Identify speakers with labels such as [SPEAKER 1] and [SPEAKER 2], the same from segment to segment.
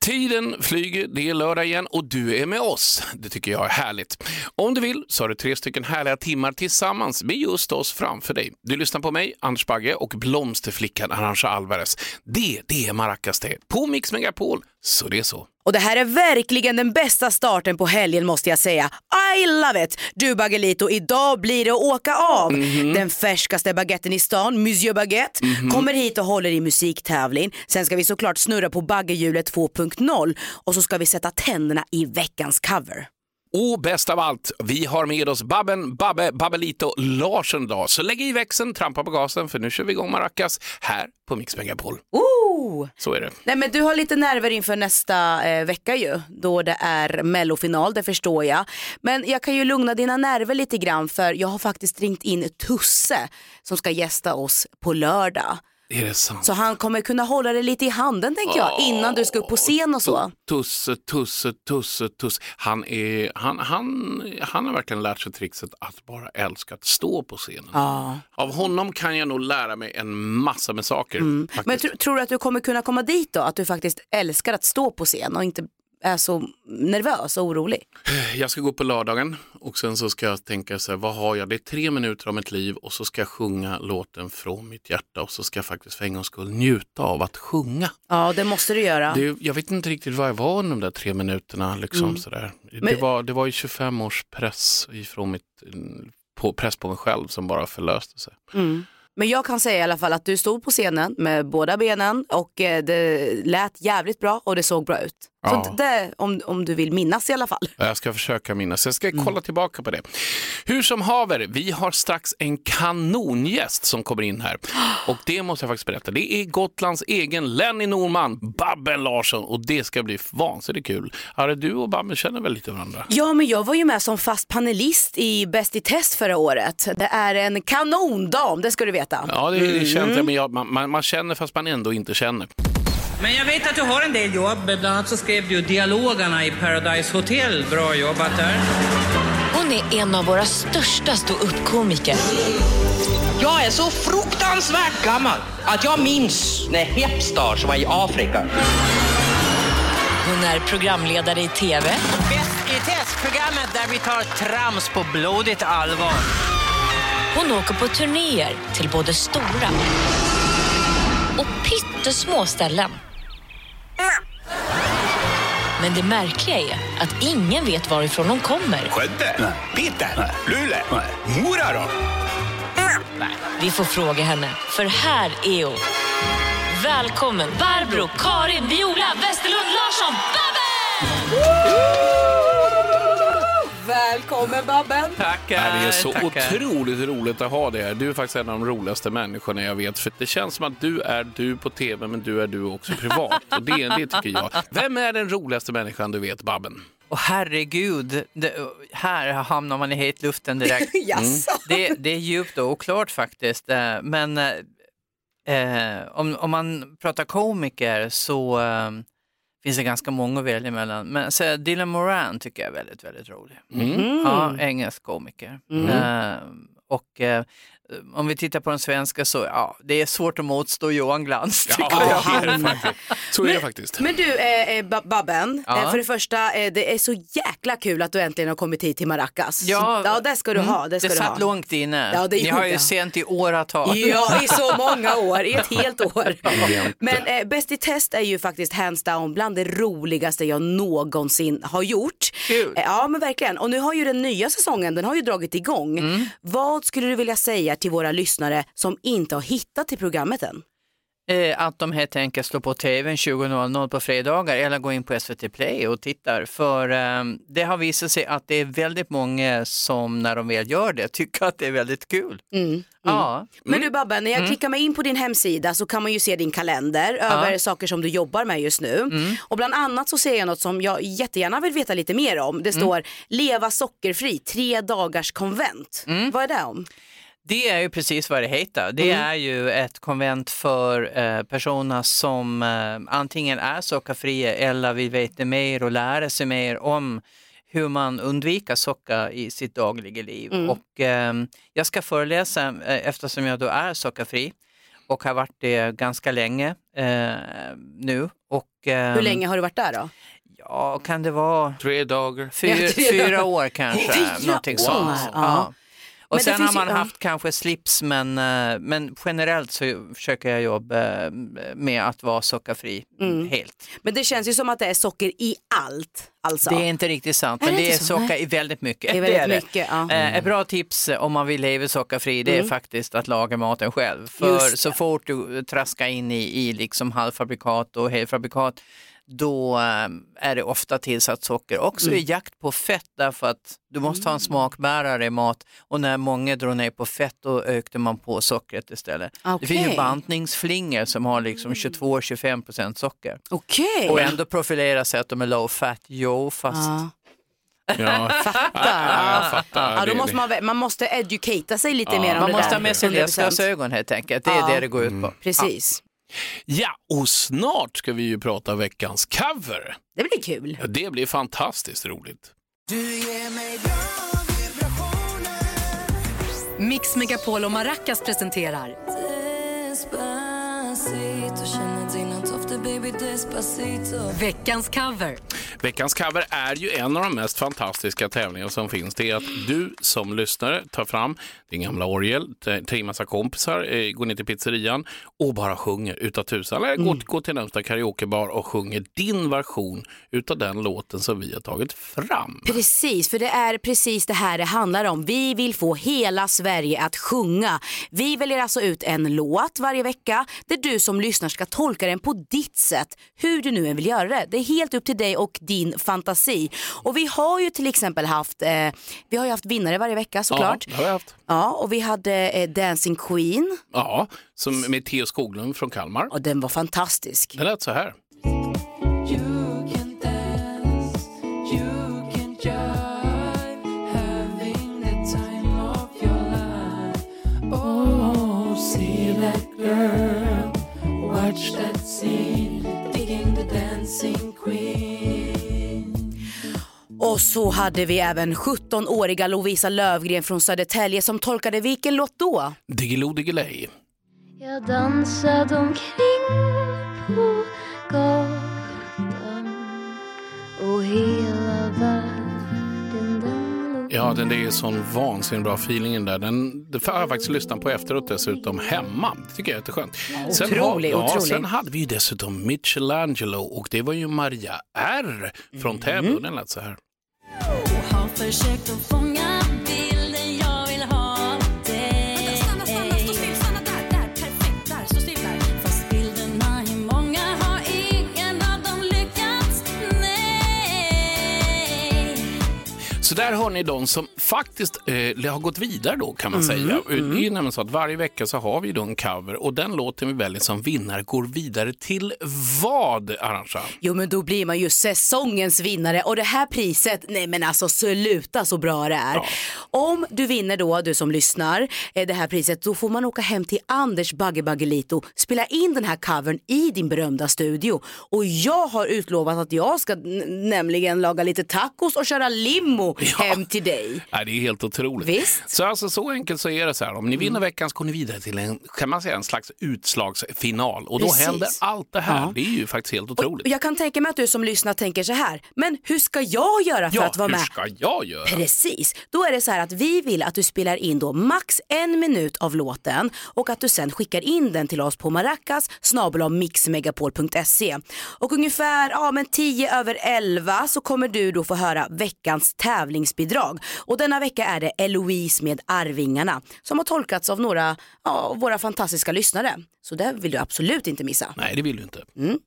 [SPEAKER 1] Tiden flyger, det är lördag igen och du är med oss. Det tycker jag är härligt. Om du vill så har du tre stycken härliga timmar tillsammans med just oss framför dig. Du lyssnar på mig, Anders Bagge och blomsterflickan Arantxa Alvarez. Det, det är Maracas det. På Mix Megapol, så det är så.
[SPEAKER 2] Och det här är verkligen den bästa starten på helgen måste jag säga. I love it! Du Bagelito, idag blir det att åka av. Den färskaste baguetten i stan, Monsieur Baguette, kommer hit och håller i musiktävling. Sen ska vi såklart snurra på baggehjulet 2.0 och så ska vi sätta tänderna i veckans cover.
[SPEAKER 1] Och bäst av allt, vi har med oss Babben, Babbe, Babbelito, Larsen idag. Så lägg i växeln, trampa på gasen för nu kör vi igång Maracas här på Mix Megapol.
[SPEAKER 2] Ooh.
[SPEAKER 1] Så är det.
[SPEAKER 2] Nej men du har lite nerver inför nästa eh, vecka ju, då det är mellofinal, det förstår jag. Men jag kan ju lugna dina nerver lite grann för jag har faktiskt ringt in Tusse som ska gästa oss på lördag.
[SPEAKER 1] Är det sant?
[SPEAKER 2] Så han kommer kunna hålla det lite i handen tänker jag, innan du ska upp på scen och så.
[SPEAKER 1] Tusse, Tusse, Tusse, Tusse. Han, är, han, han, han har verkligen lärt sig trixet att bara älska att stå på scenen.
[SPEAKER 2] Ja.
[SPEAKER 1] Av honom kan jag nog lära mig en massa med saker. faktiskt.
[SPEAKER 2] Mm. Men tr- tror du att du kommer kunna komma dit då, att du faktiskt älskar att stå på scen och inte är så nervös och orolig?
[SPEAKER 1] Jag ska gå på lördagen och sen så ska jag tänka så här, vad har jag? Det är tre minuter av mitt liv och så ska jag sjunga låten från mitt hjärta och så ska jag faktiskt för en gångs skull njuta av att sjunga.
[SPEAKER 2] Ja det måste du göra.
[SPEAKER 1] Det, jag vet inte riktigt vad jag var under de där tre minuterna. Liksom, sådär. Det,
[SPEAKER 2] Mm. Men-
[SPEAKER 1] var, det var ju 25 års press ifrån mitt, på, press på mig själv som bara förlöste sig.
[SPEAKER 2] Men jag kan säga i alla fall att du stod på scenen med båda benen och eh, det lät jävligt bra och det såg bra ut.
[SPEAKER 1] Ja.
[SPEAKER 2] Så det, om, om du vill minnas i alla fall.
[SPEAKER 1] Jag ska försöka minnas. Jag
[SPEAKER 2] Mm.
[SPEAKER 1] ska kolla tillbaka på det. Hur som haver, vi har strax en kanongäst som kommer in här. Och det måste jag faktiskt berätta. Det är Gotlands egen Lenny Norman, Babben Larsson. Och det ska bli vansinnigt kul. Harry, du och Babben känner väl lite varandra?
[SPEAKER 2] Ja men jag var ju med som fast panelist i Bäst i test förra året. Det är en kanondam, det ska du veta.
[SPEAKER 1] Ja, det, det känns
[SPEAKER 2] Mm.
[SPEAKER 1] jag, men jag, man, man, man känner fast man ändå inte känner.
[SPEAKER 3] Men jag vet att du har en del jobb. Bland annat så skrev du dialogerna i Paradise Hotel. Bra jobbat där.
[SPEAKER 4] Hon är en av våra största ståuppkomiker.
[SPEAKER 5] Jag är så fruktansvärt gammal att jag minns när Hepstars var i Afrika.
[SPEAKER 4] Hon är programledare i TV
[SPEAKER 3] Bäst i testprogrammet där vi tar trams på blodigt allvar.
[SPEAKER 4] Hon åker på turnéer till både stora och pyttesmå ställen. Men det märkliga är att ingen vet varifrån hon kommer.
[SPEAKER 6] Skövde? Piteå? Luleå? Mora då?
[SPEAKER 4] Vi får fråga henne, för här är hon. Välkommen Barbro, Karin, Viola, Westerlund, Larsson, Babben!
[SPEAKER 2] Välkommen Babben!
[SPEAKER 1] Ja,
[SPEAKER 3] Tackar,
[SPEAKER 1] Det är så
[SPEAKER 3] tackar.
[SPEAKER 1] otroligt roligt att ha dig här. Du är faktiskt en av de roligaste människorna jag vet. För det känns som att du är du på tv, men du är du också privat. Och det, det tycker jag. Vem är den roligaste människan du vet, Babben?
[SPEAKER 3] Och herregud, det, här hamnar man i hetluften direkt.
[SPEAKER 2] Jaså?
[SPEAKER 3] det, det är djupt och oklart faktiskt. eh, Men eh, eh, om, om man pratar komiker så eh, finns det ganska många att välja mellan. Men så, Dylan Moran tycker jag är väldigt, väldigt rolig. Ja, engelsk komiker. Eh, och eh, om vi tittar på den svenska så ja, det är svårt att motstå Johan Glans. tycker jag.
[SPEAKER 1] det är det faktiskt. Så är det faktiskt.
[SPEAKER 2] Men du eh, eh, Ba- Babben,
[SPEAKER 3] Ja.
[SPEAKER 2] eh, för det första eh, det är så jäkla kul att du äntligen har kommit hit till Maracas.
[SPEAKER 3] Ja. Mm.
[SPEAKER 2] Så- ja det ska du ha. Det, ska
[SPEAKER 3] det
[SPEAKER 2] du
[SPEAKER 3] satt
[SPEAKER 2] ha.
[SPEAKER 3] långt inne.
[SPEAKER 2] Ja, det
[SPEAKER 3] Ni har
[SPEAKER 2] gjorde
[SPEAKER 3] ju
[SPEAKER 2] jag.
[SPEAKER 3] sent i åratal.
[SPEAKER 2] Ja, i så många år, i ett helt år. Men eh, Bäst i test är ju faktiskt hands down bland det roligaste jag någonsin har gjort.
[SPEAKER 3] Kul.
[SPEAKER 2] Eh, ja men verkligen. Och nu har ju den nya säsongen, den har ju dragit igång. Vad skulle du vilja säga till våra lyssnare som inte har hittat till programmet än?
[SPEAKER 3] Eh, Att de helt enkelt slår på tvn 20.00 på fredagar eller går in på SVT Play och tittar. För eh, det har visat sig att det är väldigt många som när de väl gör det tycker att det är väldigt kul. Ja.
[SPEAKER 7] Mm.
[SPEAKER 2] Men du Babben, när jag klickar mig in på din hemsida så kan man ju se din kalender över saker som du jobbar med just nu.
[SPEAKER 7] Mm.
[SPEAKER 2] Och bland annat så ser jag något som jag jättegärna vill veta lite
[SPEAKER 7] Mm. Mm.
[SPEAKER 2] mer om. Det står leva sockerfri, tre dagars konvent. Vad är det om?
[SPEAKER 7] Det är ju precis vad det heter. Det är ju ett konvent för eh, personer som eh, antingen är sockerfria eller vill veta mer och lära sig mer om hur man undviker socker i sitt dagliga liv. Och, ehm, jag ska föreläsa eh, eftersom jag då är sockerfri och har varit det ganska länge eh, nu. Och, ehm,
[SPEAKER 2] Hur länge har du varit där då?
[SPEAKER 7] Ja, kan det vara
[SPEAKER 1] Tre dagar.
[SPEAKER 7] Fyra,
[SPEAKER 2] Ja, det är-
[SPEAKER 7] fyra år kanske,
[SPEAKER 2] Fyra
[SPEAKER 7] någonting
[SPEAKER 2] år,
[SPEAKER 7] sånt.
[SPEAKER 2] ja. Men
[SPEAKER 7] Och
[SPEAKER 2] det
[SPEAKER 7] sen har
[SPEAKER 2] finns ju-
[SPEAKER 7] man
[SPEAKER 2] ja.
[SPEAKER 7] haft kanske slips men, eh, men generellt så försöker jag jobba eh, med att vara sockerfri helt.
[SPEAKER 2] Men det känns ju som att det är socker i allt. Alltså.
[SPEAKER 7] Det är inte riktigt sant,
[SPEAKER 2] Är
[SPEAKER 7] men
[SPEAKER 2] det
[SPEAKER 7] det är
[SPEAKER 2] inte så?
[SPEAKER 7] socker
[SPEAKER 2] Nej.
[SPEAKER 7] i väldigt mycket.
[SPEAKER 2] Det är väldigt
[SPEAKER 7] är
[SPEAKER 2] mycket, ja. Mm.
[SPEAKER 7] Eh, Ett bra tips eh, om man vill leva sockerfri det är faktiskt att laga maten själv.
[SPEAKER 2] Just
[SPEAKER 7] För
[SPEAKER 2] det.
[SPEAKER 7] så fort du traskar in i, i liksom halvfabrikat och helfabrikat då eh, är det ofta tillsatt socker också
[SPEAKER 2] Mm.
[SPEAKER 7] i jakt på fett därför att du måste ha en smakbärare i mat och när många drog ner på fett då ökade man på sockret istället. Det finns ju
[SPEAKER 2] Okej. Mm.
[SPEAKER 7] bantningsflingor som har liksom 22-25% socker
[SPEAKER 2] Okej.
[SPEAKER 7] och ändå profilerar sig att de är low fat, jo fast
[SPEAKER 2] Ja.
[SPEAKER 1] Ja.
[SPEAKER 2] Fattar.
[SPEAKER 1] jag fattar.
[SPEAKER 2] Ja, då
[SPEAKER 1] Det-
[SPEAKER 2] måste man, vä- man måste educata sig lite mer om
[SPEAKER 7] Man
[SPEAKER 2] det
[SPEAKER 7] måste
[SPEAKER 2] där. Mm.
[SPEAKER 7] ha med sig
[SPEAKER 2] 100%.
[SPEAKER 7] läsglasögon helt enkelt. Det är
[SPEAKER 2] Ja.
[SPEAKER 7] det det går ut på.
[SPEAKER 2] Precis.
[SPEAKER 1] ja, och snart ska vi ju prata veckans cover.
[SPEAKER 2] Det blir kul.
[SPEAKER 1] Ja, det blir fantastiskt roligt.
[SPEAKER 8] Mix Megapol och Maracas presenterar veckans cover.
[SPEAKER 1] Veckans cover är ju en av de mest fantastiska tävlingar som finns. Det är att du som lyssnare tar fram din gamla orgel, t- tar in massa kompisar, eh, går ner till pizzerian och bara sjunger utav tusan. Eller går, går till närmsta karaokebar och sjunger din version utav den låten som vi har tagit fram.
[SPEAKER 2] Precis, för det är precis det här det handlar om. Vi vill få hela Sverige att sjunga. Vi väljer alltså ut en låt varje vecka där du som lyssnar ska tolka den på ditt sätt, hur du nu än vill göra det. Det är helt upp till dig och din fantasi. Och vi har ju till exempel haft, eh, vi har ju haft vinnare varje vecka såklart.
[SPEAKER 1] Ja, det har jag haft.
[SPEAKER 2] Ja, och vi hade eh, Dancing Queen
[SPEAKER 1] Ja, som med Theo Skoglund från Kalmar.
[SPEAKER 2] och den var fantastisk.
[SPEAKER 1] Den lät så här.
[SPEAKER 4] Oh,
[SPEAKER 2] Och så hade vi även 17-åriga Lovisa Lövgren från Södertälje som tolkade vilken låt då?
[SPEAKER 1] Diggiloo Diggiley.
[SPEAKER 4] Jag dansade omkring på gatan och hela världen den låg
[SPEAKER 1] Ja, den det är sån vansinnigt bra feeling den där. Den det har jag faktiskt lyssnat på efteråt dessutom hemma. Det tycker jag är jätteskönt. Sen, har-
[SPEAKER 2] otrolig,
[SPEAKER 1] ja,
[SPEAKER 2] otrolig.
[SPEAKER 1] sen hade vi ju dessutom Michelangelo och det var ju Maria R från
[SPEAKER 2] Mm.
[SPEAKER 1] Täby. och Den lät så här.
[SPEAKER 8] Har försökt att fånga bilden jag vill ha dig. Vänta, stanna, stanna, stå still, stanna där, där, perfekt, där, stå still där. Fast bilderna, hur många har ingen av dem lyckats? Nej.
[SPEAKER 1] Så där har ni de som faktiskt eh, har gått vidare då kan man
[SPEAKER 2] Mm,
[SPEAKER 1] säga. Det är nämligen så att varje vecka så har vi då en cover och den låten vi väljer som vinnare går vidare till vad, Arantxa?
[SPEAKER 2] Jo men då blir man ju säsongens vinnare och det här priset, nej men alltså sluta så bra det är. Om du vinner då, du som lyssnar, eh, det här priset då får man åka hem till Anders Bagge Baggelito, spela in den här covern i din berömda studio och jag har utlovat att jag ska n- nämligen laga lite tacos och köra limo hem till dig.
[SPEAKER 1] Nej, det är helt otroligt.
[SPEAKER 2] Visst. Mm.
[SPEAKER 1] Så, alltså, så enkelt så är det. så här. Om ni vinner veckan så går ni vidare till en, kan man säga, en slags utslagsfinal. Och då
[SPEAKER 2] Precis.
[SPEAKER 1] händer allt det här. Det är ju faktiskt helt otroligt.
[SPEAKER 2] Jag kan tänka mig att du som lyssnar tänker så här, men hur ska jag göra för
[SPEAKER 1] ja,
[SPEAKER 2] att vara
[SPEAKER 1] hur
[SPEAKER 2] med?
[SPEAKER 1] ska jag göra?
[SPEAKER 2] Precis, då är det så här att vi vill att du spelar in då max en minut av låten och att du sen skickar in den till oss på maracas mixmegapol.se. Och ungefär ja, men 10 över 11 så kommer du då få höra veckans tävlingsbidrag. Och denna vecka är det Eloise med Arvingarna som har tolkats av några ja, av våra fantastiska lyssnare. Så det vill du absolut inte missa.
[SPEAKER 1] Nej, det vill du inte.
[SPEAKER 2] Mm.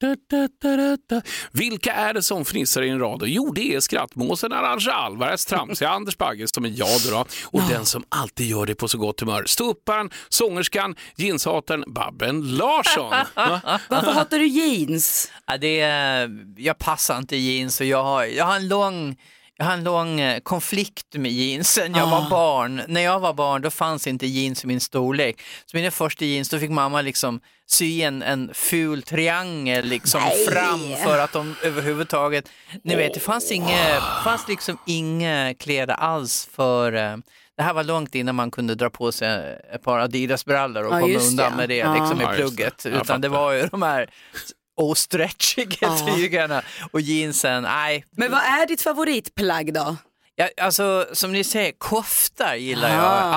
[SPEAKER 1] Da, da, da, da, da. Vilka är det som fnissar i en radio? Jo, det är skrattmåsen Arantxa Alvarez, tramsiga Anders Bagge som är jag då, och den som alltid gör det på så gott humör. Ståupparen, sångerskan, jeanshataren Babben Larsson. Va?
[SPEAKER 2] Varför hatar du jeans?
[SPEAKER 7] Ja, det är, jag passar inte i jeans och jag har, jag har en lång
[SPEAKER 3] Jag har en lång eh, konflikt med jeansen. Jag var barn. När jag var barn då fanns inte jeans i min storlek. Så mina första jeans, då fick mamma liksom sy en, en ful triangel liksom
[SPEAKER 2] Nej.
[SPEAKER 3] fram för att de överhuvudtaget, ni vet det fanns, inge, fanns liksom inga kläder alls för, eh, det här var långt innan man kunde dra på sig ett par Adidas-brallor och
[SPEAKER 2] Ja,
[SPEAKER 3] komma
[SPEAKER 2] just
[SPEAKER 3] undan
[SPEAKER 2] det.
[SPEAKER 3] med det
[SPEAKER 2] Ja.
[SPEAKER 3] liksom,
[SPEAKER 2] Ja,
[SPEAKER 3] i
[SPEAKER 2] just
[SPEAKER 3] plugget.
[SPEAKER 2] det. Jag
[SPEAKER 3] Utan det var ju de här ostretchiga
[SPEAKER 2] Ja.
[SPEAKER 3] tygarna och jeansen, nej.
[SPEAKER 2] Men vad är ditt favoritplagg då?
[SPEAKER 3] Ja, alltså som ni säger, koftar gillar jag.
[SPEAKER 2] Ah.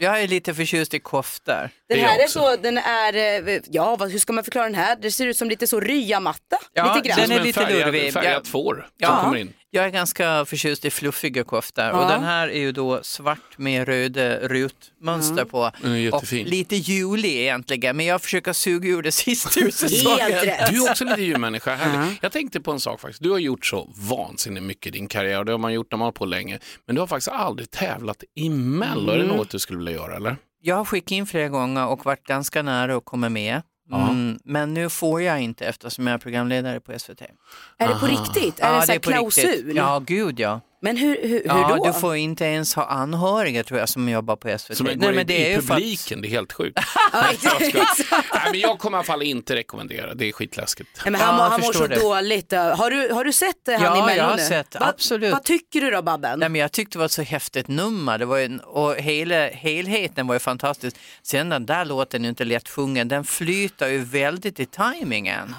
[SPEAKER 3] Ja, jag är lite förtjust i koftar.
[SPEAKER 2] Den här är så, den är, eh, ja vad, hur ska man förklara den här? Det ser ut som lite så ryamatta.
[SPEAKER 3] Ja,
[SPEAKER 2] lite grann.
[SPEAKER 3] den är lite lurvig.
[SPEAKER 1] färgat får som
[SPEAKER 3] ja,
[SPEAKER 1] kommer in.
[SPEAKER 3] Jag är ganska förtjust i fluffiga koftor
[SPEAKER 2] Ja.
[SPEAKER 3] och den här är ju då svart med röda rutmönster på.
[SPEAKER 1] Mm. Den är
[SPEAKER 3] Och
[SPEAKER 1] jättefin.
[SPEAKER 3] lite julig egentligen, men jag försöker suga ur det sista ur säsongen.
[SPEAKER 2] Helt rätt.
[SPEAKER 1] Du är också lite djurmänniska. Härligt. Jag tänkte på en sak faktiskt. Du har gjort så vansinnigt mycket i din karriär och det har man gjort när man har på länge. Men du har faktiskt aldrig tävlat i Mello. Är det något du skulle vilja göra eller?
[SPEAKER 3] Jag har skickat in flera gånger och varit ganska nära att komma med. Mm, men nu får jag inte eftersom jag är programledare på SVT.
[SPEAKER 2] Är
[SPEAKER 3] Ah.
[SPEAKER 2] det på riktigt? Är det en sån här
[SPEAKER 3] på riktigt.
[SPEAKER 2] klausul?
[SPEAKER 3] Ja, gud ja.
[SPEAKER 2] Men hur, hur, hur
[SPEAKER 3] ja
[SPEAKER 2] då?
[SPEAKER 3] Du får inte ens ha anhöriga tror jag som jobbar på SVT.
[SPEAKER 1] Som går
[SPEAKER 3] men
[SPEAKER 1] det i
[SPEAKER 3] ju för att-
[SPEAKER 1] publiken, det är helt sjukt.
[SPEAKER 2] Ja, exakt.
[SPEAKER 1] Nej, men jag kommer i alla fall inte rekommendera, det är skitläskigt.
[SPEAKER 2] Nej, men
[SPEAKER 3] Ja,
[SPEAKER 2] han, mår-
[SPEAKER 3] jag
[SPEAKER 2] han mår så
[SPEAKER 3] förstår det.
[SPEAKER 2] dåligt. Har du, har du sett det, han
[SPEAKER 3] Ja,
[SPEAKER 2] i Mello
[SPEAKER 3] jag har
[SPEAKER 2] nu?
[SPEAKER 3] sett,
[SPEAKER 2] Vad-
[SPEAKER 3] absolut.
[SPEAKER 2] Vad tycker du då Babben?
[SPEAKER 3] Nej, men jag tyckte det var ett så häftigt nummer det var ju, en- och hela, helheten var ju fantastisk. Sen den där låten är ju inte lättsjungen, den flyter ju väldigt i tajmingen.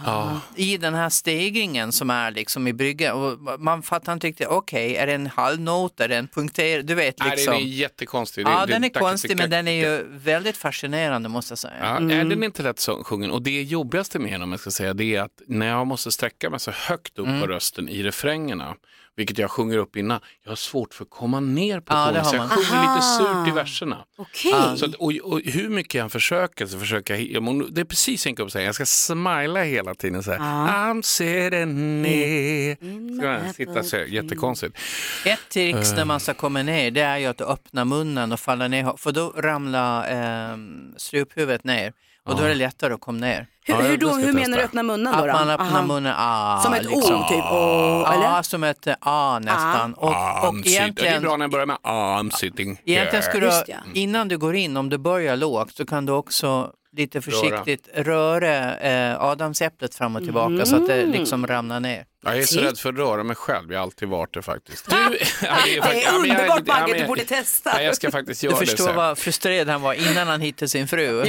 [SPEAKER 3] I den här stegringen som är liksom i bryggan. Och man fattar inte riktigt, okej är det en halvnot, är det en punkter, du vet
[SPEAKER 1] Nej,
[SPEAKER 3] liksom.
[SPEAKER 1] den är jättekonstig. Det-
[SPEAKER 3] ja
[SPEAKER 1] det-
[SPEAKER 3] den är
[SPEAKER 1] tack-
[SPEAKER 3] konstig
[SPEAKER 1] tack-
[SPEAKER 3] men den är ju väldigt fascinerande måste jag säga.
[SPEAKER 1] Ja, är
[SPEAKER 3] Mm.
[SPEAKER 1] den inte lätt så- sjungen. Och det jobbigaste med den, om jag ska säga, det är att när jag måste sträcka mig så högt upp
[SPEAKER 3] Mm.
[SPEAKER 1] på rösten i refrängerna, vilket jag sjunger upp innan, jag har svårt för att komma ner på
[SPEAKER 3] Ja, det
[SPEAKER 1] tonen,
[SPEAKER 3] har
[SPEAKER 1] så jag
[SPEAKER 3] man.
[SPEAKER 1] sjunger lite
[SPEAKER 2] Aha.
[SPEAKER 1] surt i verserna.
[SPEAKER 2] Okej.
[SPEAKER 1] Så att, och, och hur mycket jag än försöker så försöker jag, jag må- det är precis en upp säger, jag ska smila hela tiden så här, I'm sitting near.
[SPEAKER 3] Mm.
[SPEAKER 1] Ska jag sitta så här, jättekonstigt. Äh.
[SPEAKER 3] Ett trix när man ska komma ner det är ju att öppna munnen och falla ner, för då ramlar eh, struphuvudet ner och då är det lättare att komma ner.
[SPEAKER 2] Hur,
[SPEAKER 1] Ja,
[SPEAKER 2] hur,
[SPEAKER 1] det
[SPEAKER 2] då,
[SPEAKER 1] ska jag
[SPEAKER 2] hur menar du
[SPEAKER 1] testa.
[SPEAKER 2] öppna munnen då?
[SPEAKER 3] Att
[SPEAKER 2] då?
[SPEAKER 3] man öppnar
[SPEAKER 2] Aha.
[SPEAKER 3] munnen, ah,
[SPEAKER 2] Som ett O
[SPEAKER 3] liksom.
[SPEAKER 2] typ? Oh,
[SPEAKER 3] Ja,
[SPEAKER 2] eller?
[SPEAKER 3] som ett eh, ah nästan. Och, och
[SPEAKER 1] I'm sitting. Det är
[SPEAKER 3] egentligen,
[SPEAKER 1] bra när jag börjar med I'm sitting.
[SPEAKER 3] egentligen
[SPEAKER 1] here.
[SPEAKER 3] skulle du,
[SPEAKER 2] Just ja.
[SPEAKER 3] innan du går in, om du börjar lågt, så kan du också lite försiktigt röra eh, adamsäpplet fram och tillbaka så att
[SPEAKER 1] Mm.
[SPEAKER 3] det liksom ramlar ner.
[SPEAKER 1] Ja, jag är så
[SPEAKER 2] Titt.
[SPEAKER 1] rädd för att röra mig själv, jag har alltid varit det faktiskt. Du, ja, det är,
[SPEAKER 2] Det
[SPEAKER 1] faktiskt-
[SPEAKER 2] är
[SPEAKER 1] men jag-
[SPEAKER 2] underbart
[SPEAKER 1] ja,
[SPEAKER 2] Bagge,
[SPEAKER 1] men
[SPEAKER 2] du
[SPEAKER 1] jag-
[SPEAKER 2] borde testa.
[SPEAKER 1] Nej, jag ska faktiskt göra
[SPEAKER 3] Du
[SPEAKER 1] det
[SPEAKER 3] förstår
[SPEAKER 1] sen.
[SPEAKER 3] vad frustrerad han var innan han hittade sin fru.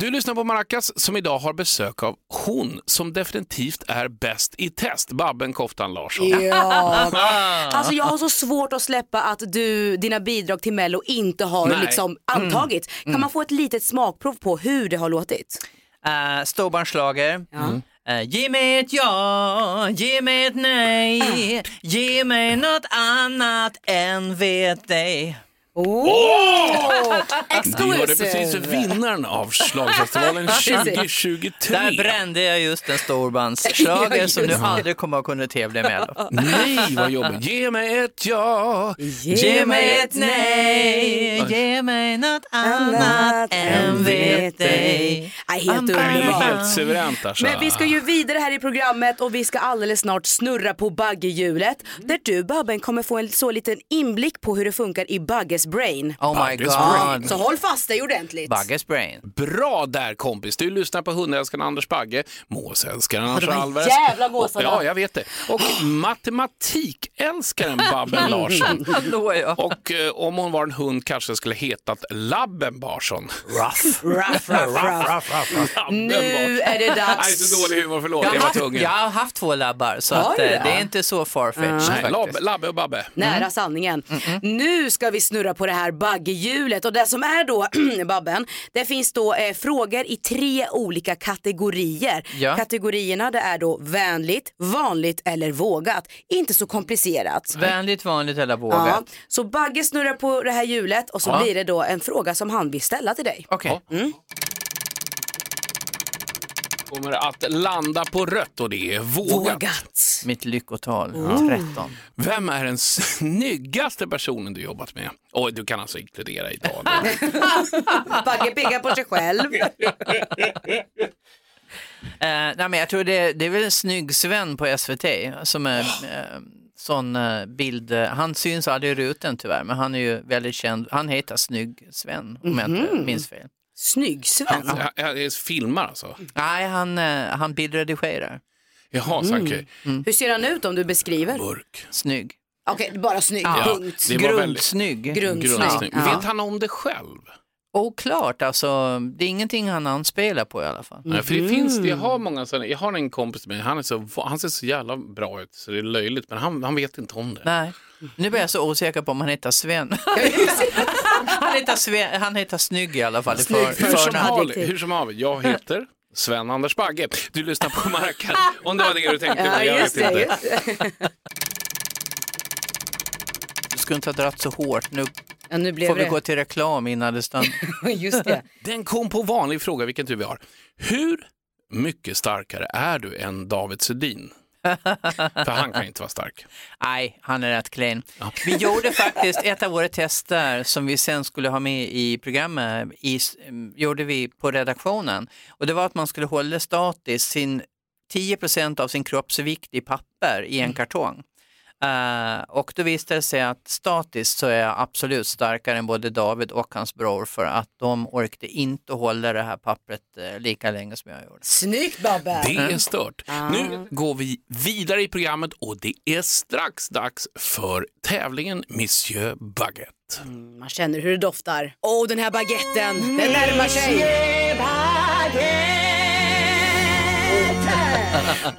[SPEAKER 1] Du lyssnar på Maracas som idag har besök av hon som definitivt är bäst i test, Babben Koftan Larsson.
[SPEAKER 2] Ja. Alltså jag har så svårt att släppa att du, dina bidrag till Mello inte har
[SPEAKER 1] Nej.
[SPEAKER 3] Mm.
[SPEAKER 2] liksom antagits. Kan man få ett litet smakprov på hur det har låtit?
[SPEAKER 3] Uh, Storbarnslager. Eh, ge mig ett ja, ge mig ett nej, ge mig något annat än vet dig.
[SPEAKER 1] Du hörde precis vinnaren av Schlagerfestivalen 2023.
[SPEAKER 3] Där brände jag just en storbandsschlager som du aldrig kommer att kunna tävla med.
[SPEAKER 1] Nej, vad jobbigt. Ge mig ett ja.
[SPEAKER 3] Ge mig ett nej, ge mig något annat än vet dig.
[SPEAKER 2] Nej, helt
[SPEAKER 1] Det
[SPEAKER 3] Det
[SPEAKER 1] är
[SPEAKER 2] underbart.
[SPEAKER 1] helt suveränt alltså.
[SPEAKER 2] Men vi ska ju vidare här i programmet och vi ska alldeles snart snurra på baggehjulet där du Babben kommer få en så liten inblick på hur det funkar i Bagges brain.
[SPEAKER 3] Oh my
[SPEAKER 1] Bagges
[SPEAKER 3] god.
[SPEAKER 2] Så håll fast dig ordentligt.
[SPEAKER 3] Bagges brain.
[SPEAKER 1] Bra där kompis! Du lyssnar på hundälskaren Anders Bagge, måsälskaren Anders
[SPEAKER 2] de här
[SPEAKER 1] Alves.
[SPEAKER 2] jävla gåsarna.
[SPEAKER 1] Ja, jag vet det. Och matematikälskaren Babben Larsson.
[SPEAKER 3] Hallå ja.
[SPEAKER 1] Och eh, om hon var en hund kanske den skulle hetat Labben Barsson.
[SPEAKER 2] Ruff, ruff, ruff.
[SPEAKER 1] Labben
[SPEAKER 2] Nu
[SPEAKER 1] Barsson.
[SPEAKER 2] är det
[SPEAKER 1] Nej,
[SPEAKER 2] dags.
[SPEAKER 1] så dålig humor, förlåt. Jag
[SPEAKER 3] Jag har,
[SPEAKER 1] var
[SPEAKER 3] haft,
[SPEAKER 1] tvungen.
[SPEAKER 3] jag har haft två labbar så
[SPEAKER 2] Har
[SPEAKER 3] att,
[SPEAKER 2] du
[SPEAKER 3] eh,
[SPEAKER 2] det?
[SPEAKER 3] det är inte Mm. så farfetched
[SPEAKER 1] Nej, Lab,
[SPEAKER 3] faktiskt.
[SPEAKER 1] labbe och Babbe.
[SPEAKER 2] Nära sanningen. Nu ska vi snurra på det här baggehjulet och det som är då, Babben, det finns då eh, frågor i tre olika kategorier.
[SPEAKER 3] Ja.
[SPEAKER 2] Kategorierna det är då vänligt, vanligt eller vågat. Inte så komplicerat.
[SPEAKER 3] Vänligt, vanligt eller vågat.
[SPEAKER 2] Ja, så Bagge snurrar på det här hjulet och så blir det då en fråga som han vill ställa till dig.
[SPEAKER 3] Okej.
[SPEAKER 1] Kommer att landa på rött och det är vågat.
[SPEAKER 2] Vågat.
[SPEAKER 3] Mitt lyckotal,
[SPEAKER 1] Oh.
[SPEAKER 3] 13.
[SPEAKER 1] Vem är den snyggaste personen du jobbat med? Oj, du kan alltså inkludera Italien.
[SPEAKER 2] Bagge pekar på sig själv.
[SPEAKER 3] Eh, nej, men jag tror det, det är väl snygg Sven på SVT som är eh, sån eh, bild. Han syns aldrig i ruten tyvärr, men han är ju väldigt känd. Han heter Snygg Sven om jag inte
[SPEAKER 2] Mhm.
[SPEAKER 3] minns fel.
[SPEAKER 2] Snygg Sven.
[SPEAKER 1] Han, han, han filmar alltså?
[SPEAKER 3] Nej, han, eh, han bildredigerar.
[SPEAKER 1] Jaha,
[SPEAKER 2] Mm.
[SPEAKER 1] så okej.
[SPEAKER 2] Hur ser han ut om du beskriver?
[SPEAKER 1] Burk.
[SPEAKER 3] Snygg.
[SPEAKER 2] Okej, bara snygg. Punkt.
[SPEAKER 1] det var väldigt-
[SPEAKER 3] Grundsnygg.
[SPEAKER 2] Grundsnygg. Grundsnygg. Ja.
[SPEAKER 1] Vet han om det själv?
[SPEAKER 3] Oklart, alltså. Det är ingenting han anspelar på i alla fall.
[SPEAKER 1] Nej, för det finns, det- jag har många sådana, jag har en kompis med han, är så, han ser så jävla bra ut så det är löjligt men han, han vet inte om det.
[SPEAKER 3] Nej. Nu blir jag så osäker på om han heter Sven. han, heter Sven han heter Snygg i alla fall. i
[SPEAKER 1] För, hur, som
[SPEAKER 3] förnamn.
[SPEAKER 1] har, hur som har vi, jag heter Sven Anders Bagge. Du lyssnar på Maracas, om det var det du tänkte på. Jag vet inte.
[SPEAKER 3] Du skulle inte ha dragit så hårt. Nu
[SPEAKER 2] Ja, nu blev
[SPEAKER 3] får vi
[SPEAKER 2] det.
[SPEAKER 3] gå till reklam innan det stannar.
[SPEAKER 2] Just det.
[SPEAKER 1] Den kom på vanlig fråga, vilken tur vi har. Hur mycket starkare är du än David Sundin? För han kan inte vara stark.
[SPEAKER 3] Nej, han är rätt clean. Vi gjorde faktiskt ett av våra tester som vi sen skulle ha med i programmet, i, mm, gjorde vi på redaktionen. Och det var att man skulle hålla statiskt sin 10 av sin kroppsvikt i papper i en kartong. Eh, och då visade det sig att statiskt så är jag absolut starkare än både David och hans bror för att de orkade inte hålla det här pappret eh, lika länge som jag gjorde.
[SPEAKER 2] Snyggt Babben!
[SPEAKER 1] Det
[SPEAKER 3] Mm.
[SPEAKER 1] är stört. Nu går vi vidare i programmet och det är strax dags för tävlingen Monsieur Baguette.
[SPEAKER 3] Mm.
[SPEAKER 2] Man känner hur det doftar. Åh, den här baguetten,
[SPEAKER 1] Mm.
[SPEAKER 2] den närmar sig.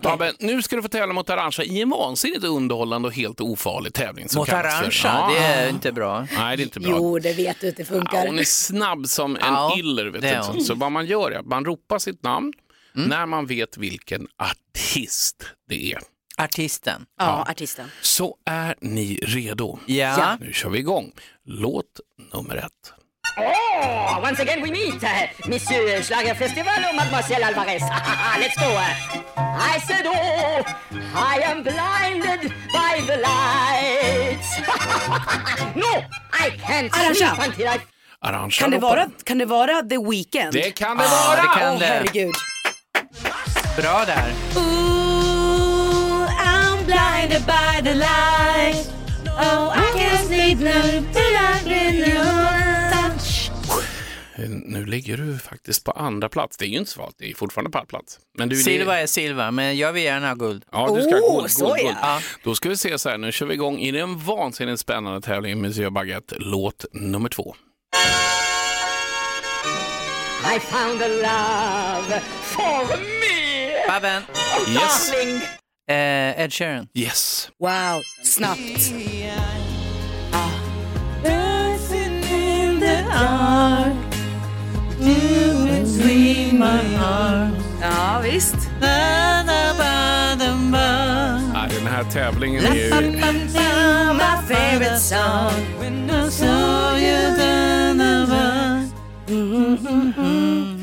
[SPEAKER 1] Babben, nu ska du få tävla mot Arantxa i en vansinnigt underhållande och helt ofarlig tävling. som
[SPEAKER 3] Mot
[SPEAKER 1] kallas för-
[SPEAKER 3] Arantxa, det är inte bra.
[SPEAKER 1] Nej, det är inte bra.
[SPEAKER 2] Jo, det vet du att det
[SPEAKER 1] Ja,
[SPEAKER 2] funkar.
[SPEAKER 1] hon är snabb som en
[SPEAKER 3] Ja,
[SPEAKER 1] iller. Vet
[SPEAKER 3] det är
[SPEAKER 1] du. Så,
[SPEAKER 3] hon. Mm.
[SPEAKER 1] så vad man gör är att man ropar sitt namn när man vet vilken artist det är.
[SPEAKER 3] Artisten.
[SPEAKER 2] Ja, artisten.
[SPEAKER 1] Så är ni redo?
[SPEAKER 3] Ja.
[SPEAKER 1] Nu kör vi igång. Låt nummer ett.
[SPEAKER 9] Oh, once again we meet, uh, Monsieur Schlagerfestival or Mademoiselle Alvarez. Let's go. uh. I said, oh, I am blinded by the lights. no, I can't
[SPEAKER 2] Arantxa.
[SPEAKER 9] sleep until I...
[SPEAKER 1] Arantxa
[SPEAKER 2] Kan det,
[SPEAKER 1] ropar.
[SPEAKER 2] vara, kan det vara The Weeknd?
[SPEAKER 1] Det kan det
[SPEAKER 2] Ah,
[SPEAKER 1] vara!
[SPEAKER 3] det kan
[SPEAKER 2] Åh,
[SPEAKER 3] det.
[SPEAKER 2] herregud.
[SPEAKER 3] Bra där.
[SPEAKER 10] Ooh, I'm blinded by the light. Oh, I can't sleep now till I've been touch.
[SPEAKER 1] Nu ligger du faktiskt på andra plats. Det är ju inte så farligt, det är fortfarande pallplats. Men du, det-
[SPEAKER 3] Silva är silva, men jag vill gärna ha guld.
[SPEAKER 1] Ja, du ska
[SPEAKER 2] Oh,
[SPEAKER 1] oh,
[SPEAKER 2] så
[SPEAKER 1] guld,
[SPEAKER 2] ja.
[SPEAKER 1] guld. Då ska vi se så här, nu kör vi igång i den vansinnigt spännande tävlingen Monsieur Baguette, låt nummer två.
[SPEAKER 9] I found a love for me.
[SPEAKER 3] Babben!
[SPEAKER 1] Yes.
[SPEAKER 9] Darling.
[SPEAKER 3] Eh, Ed Sheeran.
[SPEAKER 1] Yes.
[SPEAKER 2] Wow, snabbt. Ja, visst.
[SPEAKER 1] Ja, den här tävlingen är ju...
[SPEAKER 2] My favorite song.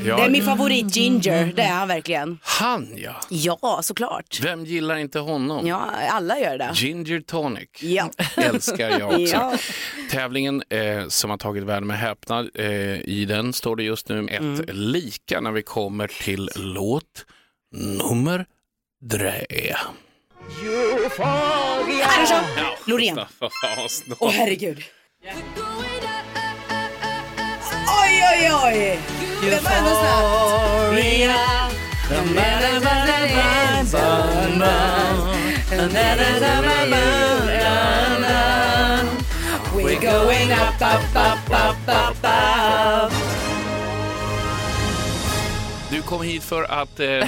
[SPEAKER 2] Det är min favorit Ginger, det är han verkligen.
[SPEAKER 1] Mm-hmm. Han ja!
[SPEAKER 2] Ja, såklart.
[SPEAKER 1] Vem gillar inte honom?
[SPEAKER 2] Ja, alla gör det.
[SPEAKER 1] Ginger tonic.
[SPEAKER 2] Ja.
[SPEAKER 1] Älskar jag också.
[SPEAKER 2] Ja.
[SPEAKER 1] Tävlingen eh, som har tagit världen med häpnad, eh, i den står det just nu ett
[SPEAKER 2] Mm.
[SPEAKER 1] lika när vi kommer till låt nummer drä.
[SPEAKER 2] Andersson,
[SPEAKER 1] Ja,
[SPEAKER 2] Loreen.
[SPEAKER 1] Staffan, vad snål.
[SPEAKER 2] Åh herregud. Oj, oj, oj. Det var ändå snabbt. We're going up, up, up, up, up, up.
[SPEAKER 1] Du kom hit för att eh,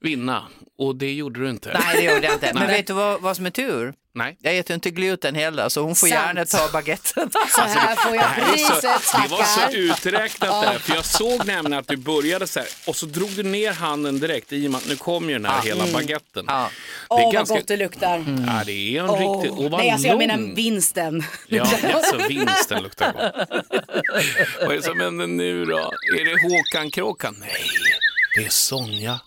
[SPEAKER 1] vinna och det gjorde du inte.
[SPEAKER 3] Nej, det gjorde jag inte. Men vet du vad, vad som är tur?
[SPEAKER 1] Nej.
[SPEAKER 3] Jag äter inte gluten heller, så hon får
[SPEAKER 2] Sant.
[SPEAKER 3] gärna ta baguetten.
[SPEAKER 2] Så här får jag
[SPEAKER 1] Det, är så,
[SPEAKER 2] priset,
[SPEAKER 1] det var så
[SPEAKER 2] tackar.
[SPEAKER 1] uträknat där, för jag såg nämligen att du började så här och så drog du ner handen direkt i och med att nu kom ju den här hela baguetten.
[SPEAKER 3] Ja.
[SPEAKER 1] Det är
[SPEAKER 2] Mm. Åh, vad
[SPEAKER 1] ganska-
[SPEAKER 2] gott det
[SPEAKER 3] Mm.
[SPEAKER 2] luktar.
[SPEAKER 1] Ja, det är en
[SPEAKER 2] Åh.
[SPEAKER 1] riktig... Och vad
[SPEAKER 2] Nej, alltså jag
[SPEAKER 1] lång.
[SPEAKER 2] menar vinsten.
[SPEAKER 1] Ja, alltså vinsten luktar gott. Vad är det som händer nu då? Är det Håkan Kråkan? Nej, det är Sonja.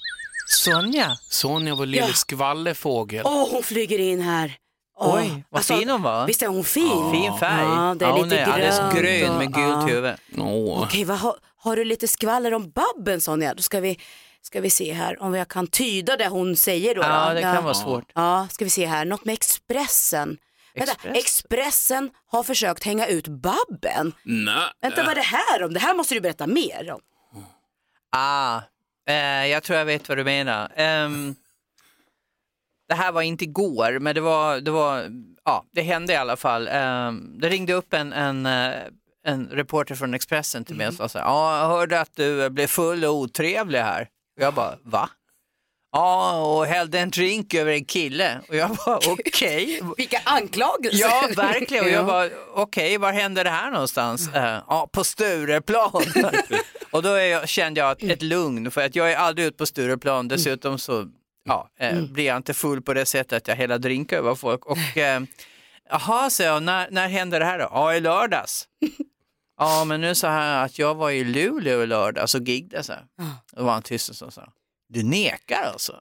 [SPEAKER 3] Sonja,
[SPEAKER 1] Sonja, vår lille skvallerfågel.
[SPEAKER 2] Åh, hon flyger in här. Åh, alltså,
[SPEAKER 3] Oj, vad fin hon var.
[SPEAKER 2] Visst är hon fin?
[SPEAKER 3] fin färg.
[SPEAKER 2] Ja, det är
[SPEAKER 3] hon
[SPEAKER 2] lite
[SPEAKER 3] är alldeles
[SPEAKER 2] grönt
[SPEAKER 3] grön
[SPEAKER 2] och-
[SPEAKER 3] med
[SPEAKER 2] ja.
[SPEAKER 3] gult huvud.
[SPEAKER 1] Åh.
[SPEAKER 2] Okej, vad, har, har du lite skvaller om Babben Sonja? Då ska vi Ska vi se här om jag kan tyda det hon säger då.
[SPEAKER 3] Ja,
[SPEAKER 2] då.
[SPEAKER 3] det kan vara svårt.
[SPEAKER 2] Ja, ska vi se här, något med Expressen. Vänta,
[SPEAKER 3] Expressen?
[SPEAKER 2] Expressen har försökt hänga ut Babben.
[SPEAKER 1] Nej.
[SPEAKER 3] Äh.
[SPEAKER 2] Vänta, vad är det här om? Det här måste du berätta mer om.
[SPEAKER 3] Ah, eh, jag tror jag vet vad du menar. Ehm, det här var inte igår, men det var, det var, ja, det hände i alla fall. Ehm, det ringde upp en, en, eh, en reporter från Expressen till mig och sa så här, ja, jag hörde att du blev full och otrevlig här. Och jag bara, va? Ja, och hällde en drink över en kille. Och jag bara, okej.
[SPEAKER 2] Vilka anklagelser.
[SPEAKER 3] Ja, verkligen. Och
[SPEAKER 2] Ja.
[SPEAKER 3] jag bara, okej, var hände det här någonstans? Eh, Ja, på Stureplan. och då är jag, kände jag ett, ett lugn, för att jag är aldrig ute på Stureplan. Dessutom så ja, eh, blir jag inte full på det sättet att jag hela drinkar över folk. Och, eh, jaha, så jag, när, när hände det här då? Ja, i lördags. Ja, men nu så här att jag var i Luleå i lördags och giggade så här. Då var han tyst och så sa, han, du nekar alltså?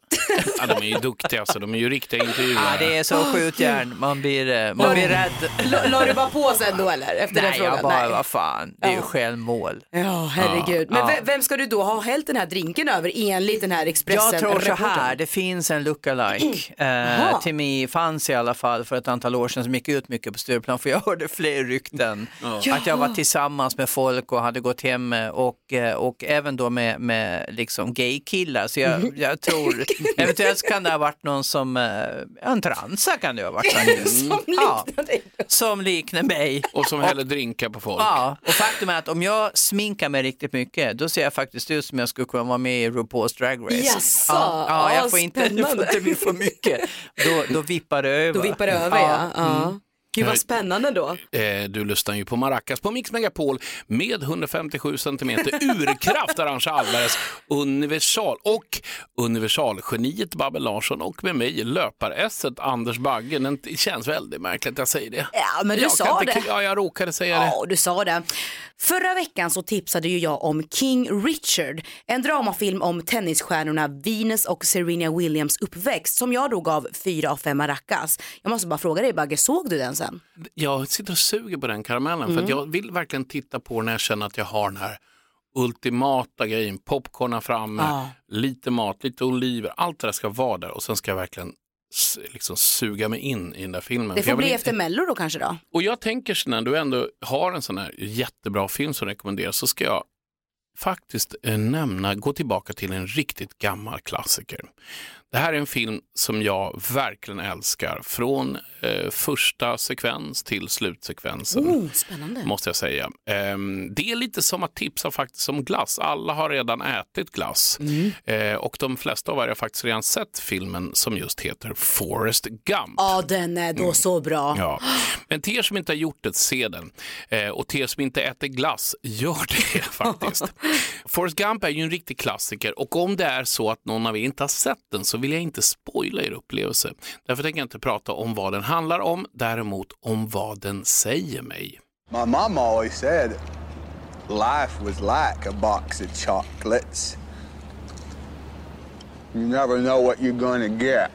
[SPEAKER 1] Ja, de är ju duktiga, alltså. de är ju riktiga intervjuare.
[SPEAKER 3] Ja, det är så skjutjärn, man blir, eh, man blir rädd.
[SPEAKER 2] La, la du bara på sen då eller? Efter den
[SPEAKER 3] Nej,
[SPEAKER 2] frågan?
[SPEAKER 3] jag bara,
[SPEAKER 2] Nej.
[SPEAKER 3] vad fan, det är ju
[SPEAKER 2] Ja.
[SPEAKER 3] självmål.
[SPEAKER 2] Ja, herregud. Men
[SPEAKER 3] Ja.
[SPEAKER 2] ve- vem ska du då ha hällt den här drinken över enligt den här Expressen?
[SPEAKER 3] Jag tror så
[SPEAKER 2] reportern?
[SPEAKER 3] här, det finns en lookalike.
[SPEAKER 2] Jaha.
[SPEAKER 3] Eh, till mig fanns i alla fall för ett antal år sedan som gick ut mycket på Stureplan för jag hörde fler rykten.
[SPEAKER 2] Ja.
[SPEAKER 3] Att jag var tillsammans med folk och hade gått hem eh, och, eh, och även då med, med liksom gaykillar. Så
[SPEAKER 2] Mhm.
[SPEAKER 3] jag, jag tror, eventuellt kan det ha varit någon som, eh, en transa kan det ha varit faktiskt.
[SPEAKER 2] Som
[SPEAKER 3] Mm. Ja, som liknar mig.
[SPEAKER 1] Och som häller drinkar på folk.
[SPEAKER 3] Ja, och faktum är att om jag sminkar mig riktigt mycket, då ser jag faktiskt ut som jag skulle kunna vara med i RuPaul's Drag Race.
[SPEAKER 2] Jaså?
[SPEAKER 3] Ja, ja,
[SPEAKER 2] Ja,
[SPEAKER 3] jag får inte, det får inte bli för mycket. Då, då vippar det över.
[SPEAKER 2] Då vippar det över ja. ja.
[SPEAKER 3] Mm.
[SPEAKER 2] Gud vad spännande då.
[SPEAKER 1] Eh, Du lyssnar ju på Maracas på Mix Megapol med 157 centimeter urkraft Arantxa Alvarez universal och universalgeniet Babbel Larsson och med mig löparesset Anders Bagge. Men Det känns väldigt märkligt att jag säger det.
[SPEAKER 2] Ja, men du
[SPEAKER 1] jag
[SPEAKER 2] sa
[SPEAKER 1] kan inte-
[SPEAKER 2] det.
[SPEAKER 1] Ja, jag råkade säga det.
[SPEAKER 2] Ja, du sa det. Förra veckan så tipsade ju jag om King Richard, en dramafilm om tennisstjärnorna Venus och Serena Williams uppväxt som jag då gav fyra av fem maracas. Jag måste bara fråga dig Bagge, såg du den sen?
[SPEAKER 1] Jag sitter och suger på den karamellen för
[SPEAKER 2] Mm.
[SPEAKER 1] att jag vill verkligen titta på när jag känner att jag har den här ultimata grejen. Popcorna framme,
[SPEAKER 2] Ja.
[SPEAKER 1] lite mat, lite oliver. Allt det där ska vara där och sen ska jag verkligen s- liksom suga mig in i den där filmen.
[SPEAKER 2] Det
[SPEAKER 1] För
[SPEAKER 2] får
[SPEAKER 1] jag vill
[SPEAKER 2] bli
[SPEAKER 1] inte-
[SPEAKER 2] efter mello då kanske då?
[SPEAKER 1] Och jag tänker så när du ändå har en sån här jättebra film som rekommenderas så ska jag faktiskt eh, nämna, gå tillbaka till en riktigt gammal klassiker. Det här är en film som jag verkligen älskar från eh, första sekvens till slutsekvensen.
[SPEAKER 2] Oh, spännande.
[SPEAKER 1] Måste jag säga. Ehm, det är lite som att tipsa faktiskt om glass. Alla har redan ätit glass. Eh, och de flesta av er har faktiskt redan sett filmen som just heter Forrest Gump.
[SPEAKER 2] Ja, den är då så bra.
[SPEAKER 1] Mm. Ja. Men till er som inte har gjort det, se den. Eh, och till er som inte äter glass, gör det faktiskt. Forrest Gump är ju en riktig klassiker och om det är så att någon av er inte har sett den så vill jag inte spoila er upplevelse. Därför tänker jag inte prata om vad den handlar om, däremot om vad den säger mig.
[SPEAKER 7] My mom always said life was like a box of chocolates. You never know what you're gonna get.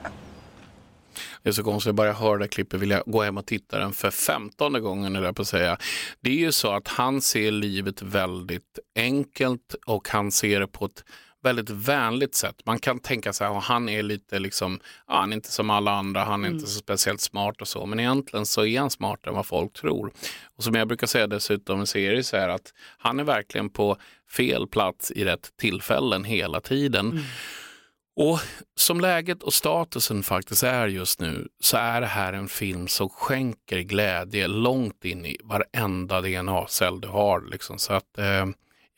[SPEAKER 1] Det är så konstigt, jag bara hör det här klippet vill jag gå hem och titta den för femtonde gången, eller på att säga. Det är ju så att han ser livet väldigt enkelt och han ser det på ett väldigt vänligt sätt. Man kan tänka sig att han är lite liksom, ja, han är inte som alla andra, han är inte så speciellt smart och så, men egentligen så är han smartare än vad folk tror. Och som jag brukar säga dessutom i serier så är att han är verkligen på fel plats i rätt tillfällen hela tiden. Och som läget och statusen faktiskt är just nu så är det här en film som skänker glädje långt in i varenda DNA-cell du har. Liksom. Så att, eh,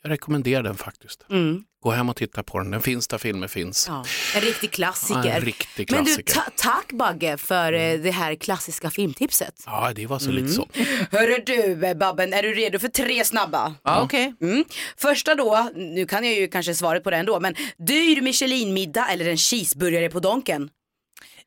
[SPEAKER 1] jag rekommenderar den faktiskt.
[SPEAKER 2] Mm.
[SPEAKER 1] Gå hem och titta på den. Den finns där filmer finns.
[SPEAKER 2] Ja, en riktig klassiker.
[SPEAKER 1] Ja, en riktig
[SPEAKER 2] Men du,
[SPEAKER 1] klassiker. Mm.
[SPEAKER 2] ta- tack Bagge för eh, det här klassiska filmtipset.
[SPEAKER 1] Ja, det var så
[SPEAKER 2] Mm.
[SPEAKER 1] lite så.
[SPEAKER 2] Hörru du eh, Babben, är du redo för tre snabba?
[SPEAKER 3] Ja, okej.
[SPEAKER 2] Mm. Första då, nu kan jag ju kanske svaret på den då, men dyr Michelinmiddag eller en cheeseburgare på Donken?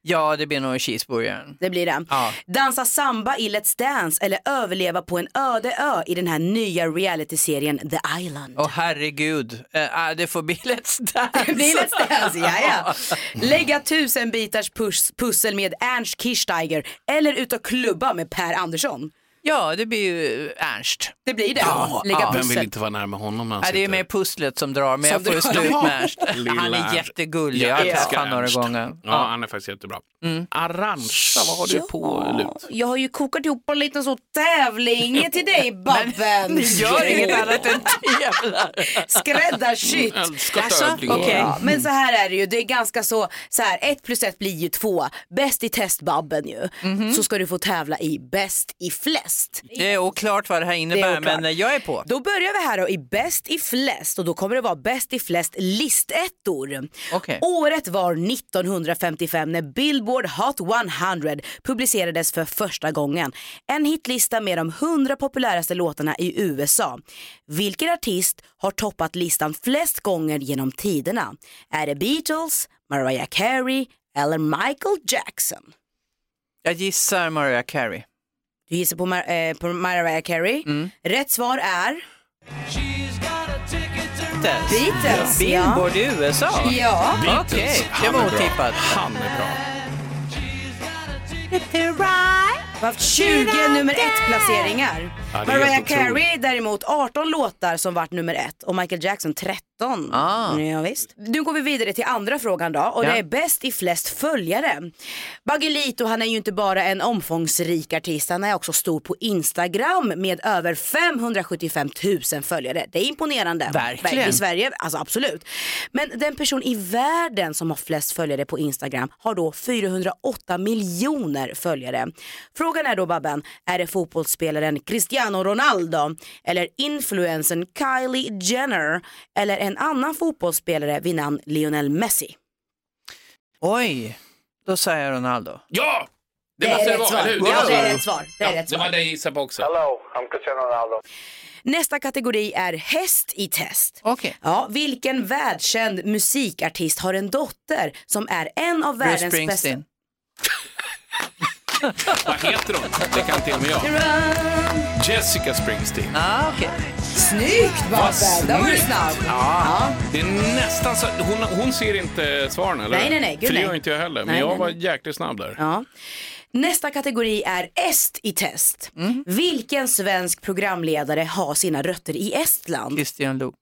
[SPEAKER 3] Ja, det blir nog cheeseburgaren.
[SPEAKER 2] Det blir det.
[SPEAKER 3] Ja.
[SPEAKER 2] Dansa samba i Let's Dance eller överleva på en öde ö i den här nya realityserien The Island.
[SPEAKER 3] Åh herregud, eh, ah, det får bli Let's
[SPEAKER 2] Det
[SPEAKER 3] Dance.
[SPEAKER 2] blir Let's Dance, ja ja. Lägga tusen bitars pus pussel med Ernst Kirchsteiger eller ut och klubba med Per Andersson.
[SPEAKER 3] Ja, det blir ju Ernst.
[SPEAKER 2] Det blir det.
[SPEAKER 1] Ja,
[SPEAKER 3] Lägga
[SPEAKER 1] vem vill
[SPEAKER 3] pussel.
[SPEAKER 1] inte vara närmare honom när han
[SPEAKER 3] Nej, det är
[SPEAKER 1] sitter?
[SPEAKER 3] mer pusslet som drar, men
[SPEAKER 1] Som
[SPEAKER 3] jag får ju
[SPEAKER 1] drar.
[SPEAKER 3] slut med Ernst.
[SPEAKER 1] Lilla
[SPEAKER 3] Han är
[SPEAKER 1] Ernst.
[SPEAKER 3] jättegullig, jag har
[SPEAKER 1] Jätteskär
[SPEAKER 3] träffat honom några
[SPEAKER 1] Ernst.
[SPEAKER 3] gånger.
[SPEAKER 1] Ja,
[SPEAKER 3] Ja.
[SPEAKER 1] han är faktiskt jättebra.
[SPEAKER 2] Mm.
[SPEAKER 1] Arantxa, vad har du på lut?
[SPEAKER 2] Jag har ju kokat ihop en liten så tävling till dig Babben.
[SPEAKER 3] Ni gör inget annat än tävlar.
[SPEAKER 2] Skräddarsytt.
[SPEAKER 3] Mm, älskar tävlingar.
[SPEAKER 2] okej.
[SPEAKER 3] Ja.
[SPEAKER 2] Men så här är det ju, det är ganska så, så här, ett plus ett blir ju två. Bäst i test Babben ju.
[SPEAKER 3] Mhm.
[SPEAKER 2] Så ska du få tävla i bäst i flest.
[SPEAKER 3] Det är oklart vad det här innebär,
[SPEAKER 2] oklart.
[SPEAKER 3] men eh, jag är på.
[SPEAKER 2] Då börjar vi här då i bäst i flest och då kommer det vara bäst i flest listettor. Året var 1955 när Billboard Hot 100 publicerades för första gången. En hitlista med de 100 populäraste låtarna i USA. Vilken artist har toppat listan flest gånger genom tiderna? Är det Beatles, Mariah Carey eller Michael Jackson?
[SPEAKER 3] Jag gissar Mariah Carey.
[SPEAKER 2] Du gissar på, Mar- eh, på Mariah Carey.
[SPEAKER 3] Mm.
[SPEAKER 2] Rätt svar är Beatles, ja.
[SPEAKER 3] Billboard i USA?
[SPEAKER 2] Ja.
[SPEAKER 3] Okej, det var otippat.
[SPEAKER 1] Han är bra.
[SPEAKER 2] Vi har haft 20 nummer ett placeringar.
[SPEAKER 3] Ja, det är
[SPEAKER 2] Mariah
[SPEAKER 3] helt otroligt.
[SPEAKER 2] Carey däremot 18 låtar som vart nummer ett och Michael Jackson 13.
[SPEAKER 3] Ah.
[SPEAKER 2] Ja, visst. Nu går vi vidare till andra frågan då och
[SPEAKER 3] Ja.
[SPEAKER 2] det är bäst i flest följare. Baggelito han är ju inte bara en omfångsrik artist, han är också stor på Instagram med över 575 000 följare. Det är imponerande.
[SPEAKER 3] Verkligen.
[SPEAKER 2] I Sverige, alltså absolut. Men den person i världen som har flest följare på Instagram har då 408 miljoner följare. Frågan är då Babben, är det fotbollsspelaren Cristiano Ronaldo eller influencern Kylie Jenner eller en annan fotbollsspelare vid namn Lionel Messi?
[SPEAKER 3] Oj, då säger jag Ronaldo.
[SPEAKER 1] Ja!
[SPEAKER 2] Det är rätt svar.
[SPEAKER 1] eller hur?
[SPEAKER 2] Ja, det är
[SPEAKER 1] svar.
[SPEAKER 2] rätt svar. Det är
[SPEAKER 1] Ja,
[SPEAKER 2] rätt
[SPEAKER 1] Det
[SPEAKER 2] svar.
[SPEAKER 1] var det jag gissade på också. Hello, I'm Cristiano Ronaldo.
[SPEAKER 2] Nästa kategori är häst i test. Ja, vilken världskänd musikartist har en dotter som är en av
[SPEAKER 3] Bruce
[SPEAKER 2] världens bästa...
[SPEAKER 3] Springsteen.
[SPEAKER 1] Vad heter hon? Det kan till och med jag. Jessica Springsteen.
[SPEAKER 3] Ah, okay.
[SPEAKER 2] Snyggt Babben, där var du
[SPEAKER 1] snyggt.
[SPEAKER 2] snabb.
[SPEAKER 1] Ja, det är nästan så. Hon, hon ser inte svaren eller?
[SPEAKER 2] Nej, nej, nej. Gud,
[SPEAKER 1] För det
[SPEAKER 2] nej.
[SPEAKER 1] gör inte jag heller. Men
[SPEAKER 2] Nej,
[SPEAKER 1] jag
[SPEAKER 2] nej,
[SPEAKER 1] var
[SPEAKER 2] nej.
[SPEAKER 1] jäkligt snabb där.
[SPEAKER 2] Ja. Nästa kategori är est i test. Vilken svensk programledare har sina rötter i Estland?
[SPEAKER 3] Christian Luuk.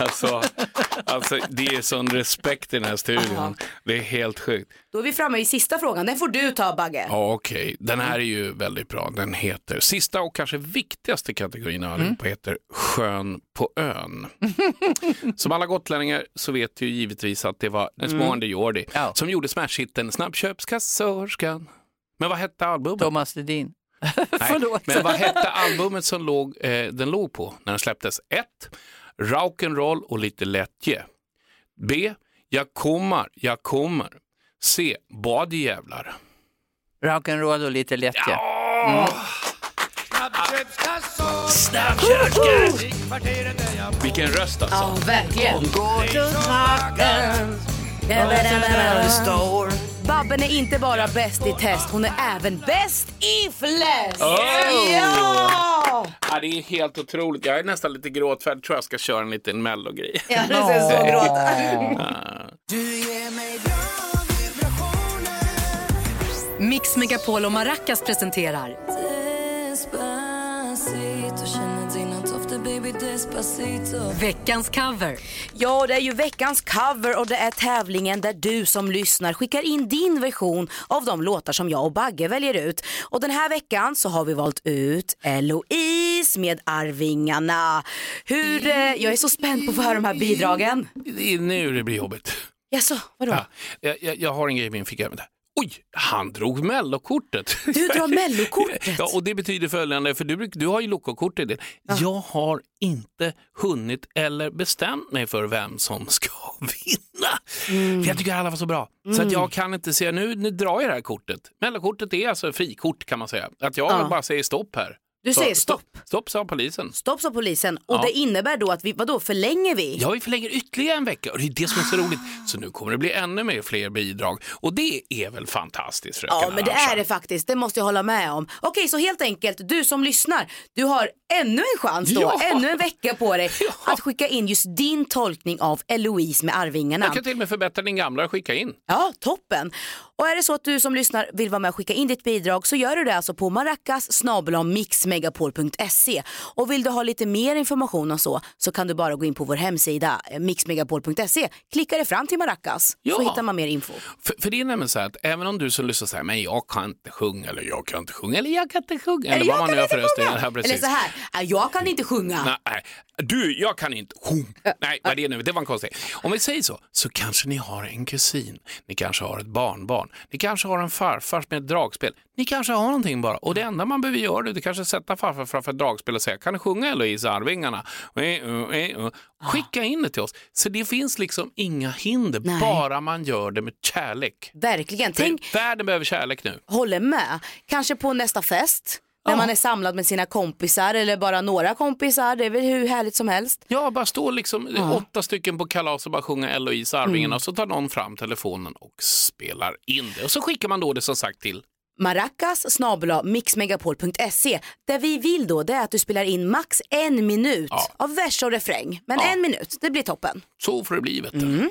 [SPEAKER 1] Alltså, alltså, det är sån respekt i den här studion. Det är helt sjukt.
[SPEAKER 2] Då är vi framme i sista frågan, den får du ta Bagge.
[SPEAKER 1] Ja, okej. Den här är ju väldigt bra. Den heter, sista och kanske viktigaste kategorin av allihopa heter Sjön på ön. Som alla gotlänningar så vet du ju givetvis att det var den
[SPEAKER 3] Mm.
[SPEAKER 1] smående Jordi som gjorde smashhitten Snabbköpskassörskan. Men vad hette albumet?
[SPEAKER 3] Thomas Ledin.
[SPEAKER 1] Nej, men vad hette albumet som låg, eh, den låg på när den släpptes? 1. Rock'n'roll och lite lättje. B. Jag kommer, jag kommer. C. Bad i jävlar.
[SPEAKER 3] Rock'n'roll och lite lättja.
[SPEAKER 1] Vilken röst alltså.
[SPEAKER 2] Ja, verkligen. Babben är inte bara bäst i test, hon är även bäst i flest!
[SPEAKER 1] Oh!
[SPEAKER 2] Ja!
[SPEAKER 1] Ja, det är helt otroligt. Jag är nästan lite gråtfärdig. tror jag ska köra en liten mellogrej.
[SPEAKER 2] Ja, du ser så gråta.
[SPEAKER 1] Ja.
[SPEAKER 11] Eh, Mix Megapol och Maracas presenterar
[SPEAKER 10] Despacito, känner dina dofter baby despacito
[SPEAKER 11] veckans cover.
[SPEAKER 2] Ja, det är ju veckans cover och det är tävlingen där du som lyssnar skickar in din version av de låtar som jag och Bagge väljer ut. Och den här veckan så har vi valt ut Eloise med Arvingarna. Hur, eh, jag är så spänd på att få höra de här bidragen.
[SPEAKER 1] Det är nu det blir jobbigt.
[SPEAKER 2] Jaså, vadå?
[SPEAKER 1] Ja, jag, jag, jag har en grej i min ficka. Vänta. Oj, han drog mellokortet.
[SPEAKER 2] Du drar mellokortet?
[SPEAKER 1] ja, och det betyder följande, för du, bruk- du har ju lokokortet i det. Jag har inte hunnit eller bestämt mig för vem som ska vinna.
[SPEAKER 2] Mm.
[SPEAKER 1] För jag tycker alla var så bra. Så att
[SPEAKER 6] Mm.
[SPEAKER 1] jag kan inte säga, nu, nu drar jag det här kortet. Mellokortet är alltså frikort kan man säga. Att jag
[SPEAKER 2] Ja.
[SPEAKER 1] bara säger stopp här.
[SPEAKER 2] Du
[SPEAKER 1] Så-
[SPEAKER 2] säger stopp.
[SPEAKER 1] Stopp sa polisen.
[SPEAKER 2] Stopp sa polisen och
[SPEAKER 1] Ja.
[SPEAKER 2] det innebär då att vi, vadå förlänger vi?
[SPEAKER 1] Ja, vi förlänger ytterligare en vecka och det är det som är så roligt. Så nu kommer det bli ännu mer fler bidrag och det är väl fantastiskt fröken
[SPEAKER 2] Ja men det
[SPEAKER 1] Arantxa?
[SPEAKER 2] är det faktiskt, det måste jag hålla med om. Okej så helt enkelt, du som lyssnar, du har ännu en chans då,
[SPEAKER 1] Ja.
[SPEAKER 2] ännu en vecka på dig att skicka in just din tolkning av Eloise med Arvingarna.
[SPEAKER 1] Jag kan till och med förbättra din gamla och skicka in.
[SPEAKER 2] Ja, toppen. Och är det så att du som lyssnar vill vara med och skicka in ditt bidrag så gör du det alltså på maracas mixmegapol.se. Och vill du ha lite mer information och så så kan du bara gå in på vår hemsida eh, mixmegapol.se. Klicka dig fram till maracas så hittar man mer info.
[SPEAKER 1] För, för det är nämligen så här att även om du som lyssnar säger men jag kan inte sjunga eller jag kan inte sjunga eller jag kan inte sjunga
[SPEAKER 2] Eh,
[SPEAKER 1] eller vad man nu har för röst. i den här,
[SPEAKER 2] Eller
[SPEAKER 1] precis.
[SPEAKER 2] så här, "Ah, jag kan inte sjunga.
[SPEAKER 1] Nej, du, jag kan inte. Hon. Nej, vad är det nu? Det var en konstig. Om vi säger så, så kanske ni har en kusin. Ni kanske har ett barnbarn. Ni kanske har en farfar med ett dragspel. Ni kanske har någonting bara. Och det enda man behöver göra det är att kanske sätta farfar framför ett dragspel och säga, kan du sjunga Eloise Arvingarna? Eh, eh, eh. Skicka in det till oss. Så det finns liksom inga hinder, bara man gör det med kärlek.
[SPEAKER 2] Verkligen. Tänk,
[SPEAKER 1] Världen behöver kärlek nu.
[SPEAKER 2] håller med. Kanske på nästa fest. När man är samlad med sina kompisar eller bara några kompisar. Det är väl hur härligt som helst.
[SPEAKER 1] Ja, bara stå liksom eh, åtta stycken på kalas och bara sjunga Eloise Arvingarna och så tar någon fram telefonen och spelar in det. Och så skickar man då det som sagt till
[SPEAKER 2] Maracas snabel-a mixmegapol.se. Det vi vill då det är att du spelar in max en minut av vers och refräng. Men en minut, det blir toppen.
[SPEAKER 1] Så får det bli. Vet du.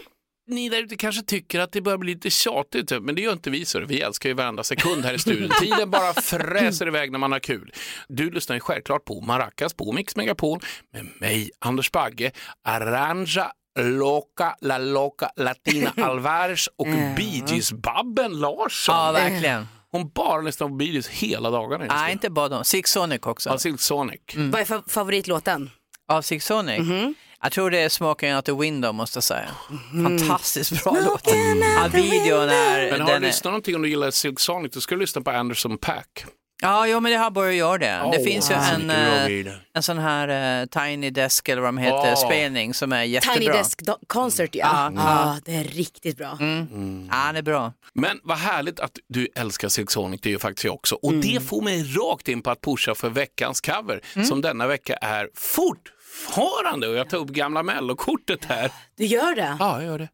[SPEAKER 1] Ni där ute kanske tycker att det börjar bli lite tjatigt, typ, men det gör inte vi. Så. Vi älskar ju varenda sekund här i studion. Tiden bara fräser iväg när man har kul. Du lyssnar ju självklart på Maracas på Mix Megapol med mig, Anders Bagge, Aranja Loca, La Loca, Latina Alvarez och Bee Gees-babben Larsson.
[SPEAKER 3] Ja, verkligen.
[SPEAKER 1] Hon bara lyssnar på Bee Gees hela dagarna. i den
[SPEAKER 3] Nej,
[SPEAKER 1] studion.
[SPEAKER 3] inte Mm. bara dem. Six Sonic också.
[SPEAKER 1] Ja, Silk Sonic.
[SPEAKER 2] Vad är fa- favoritlåten?
[SPEAKER 3] Av Six Sonic?
[SPEAKER 1] Mhm.
[SPEAKER 3] Jag tror det är Smoking Out the Window måste jag säga.
[SPEAKER 1] Mhm.
[SPEAKER 3] Fantastiskt bra låt. Ja, videon
[SPEAKER 1] Men
[SPEAKER 3] är...
[SPEAKER 1] har
[SPEAKER 3] den
[SPEAKER 1] du
[SPEAKER 3] är...
[SPEAKER 1] lyssnat någonting om du gillar Silk Sonic, då ska du lyssna på Anderson Pack.
[SPEAKER 3] Ja, jo, men det har börjat göra det. det
[SPEAKER 1] Åh,
[SPEAKER 3] finns ju
[SPEAKER 1] wow.
[SPEAKER 3] en,
[SPEAKER 1] Vilken
[SPEAKER 3] eh,
[SPEAKER 1] bra video.
[SPEAKER 3] en sån här eh, Tiny Desk eller vad de heter,
[SPEAKER 1] Ja.
[SPEAKER 3] spelning som är jättebra.
[SPEAKER 2] Tiny Desk Do- Concert ja.
[SPEAKER 3] Ja,
[SPEAKER 2] Ah,
[SPEAKER 3] ja.
[SPEAKER 2] det är riktigt bra.
[SPEAKER 3] Mm. Ja, det är bra.
[SPEAKER 1] Men vad härligt att du älskar Silk Sonic, det gör faktiskt jag också. Och
[SPEAKER 3] Mm.
[SPEAKER 1] det får mig rakt in på att pusha för veckans cover, som denna vecka är fortfarande, och jag tar upp gamla mellokortet här.
[SPEAKER 2] Du gör det?
[SPEAKER 1] Ja, jag gör det.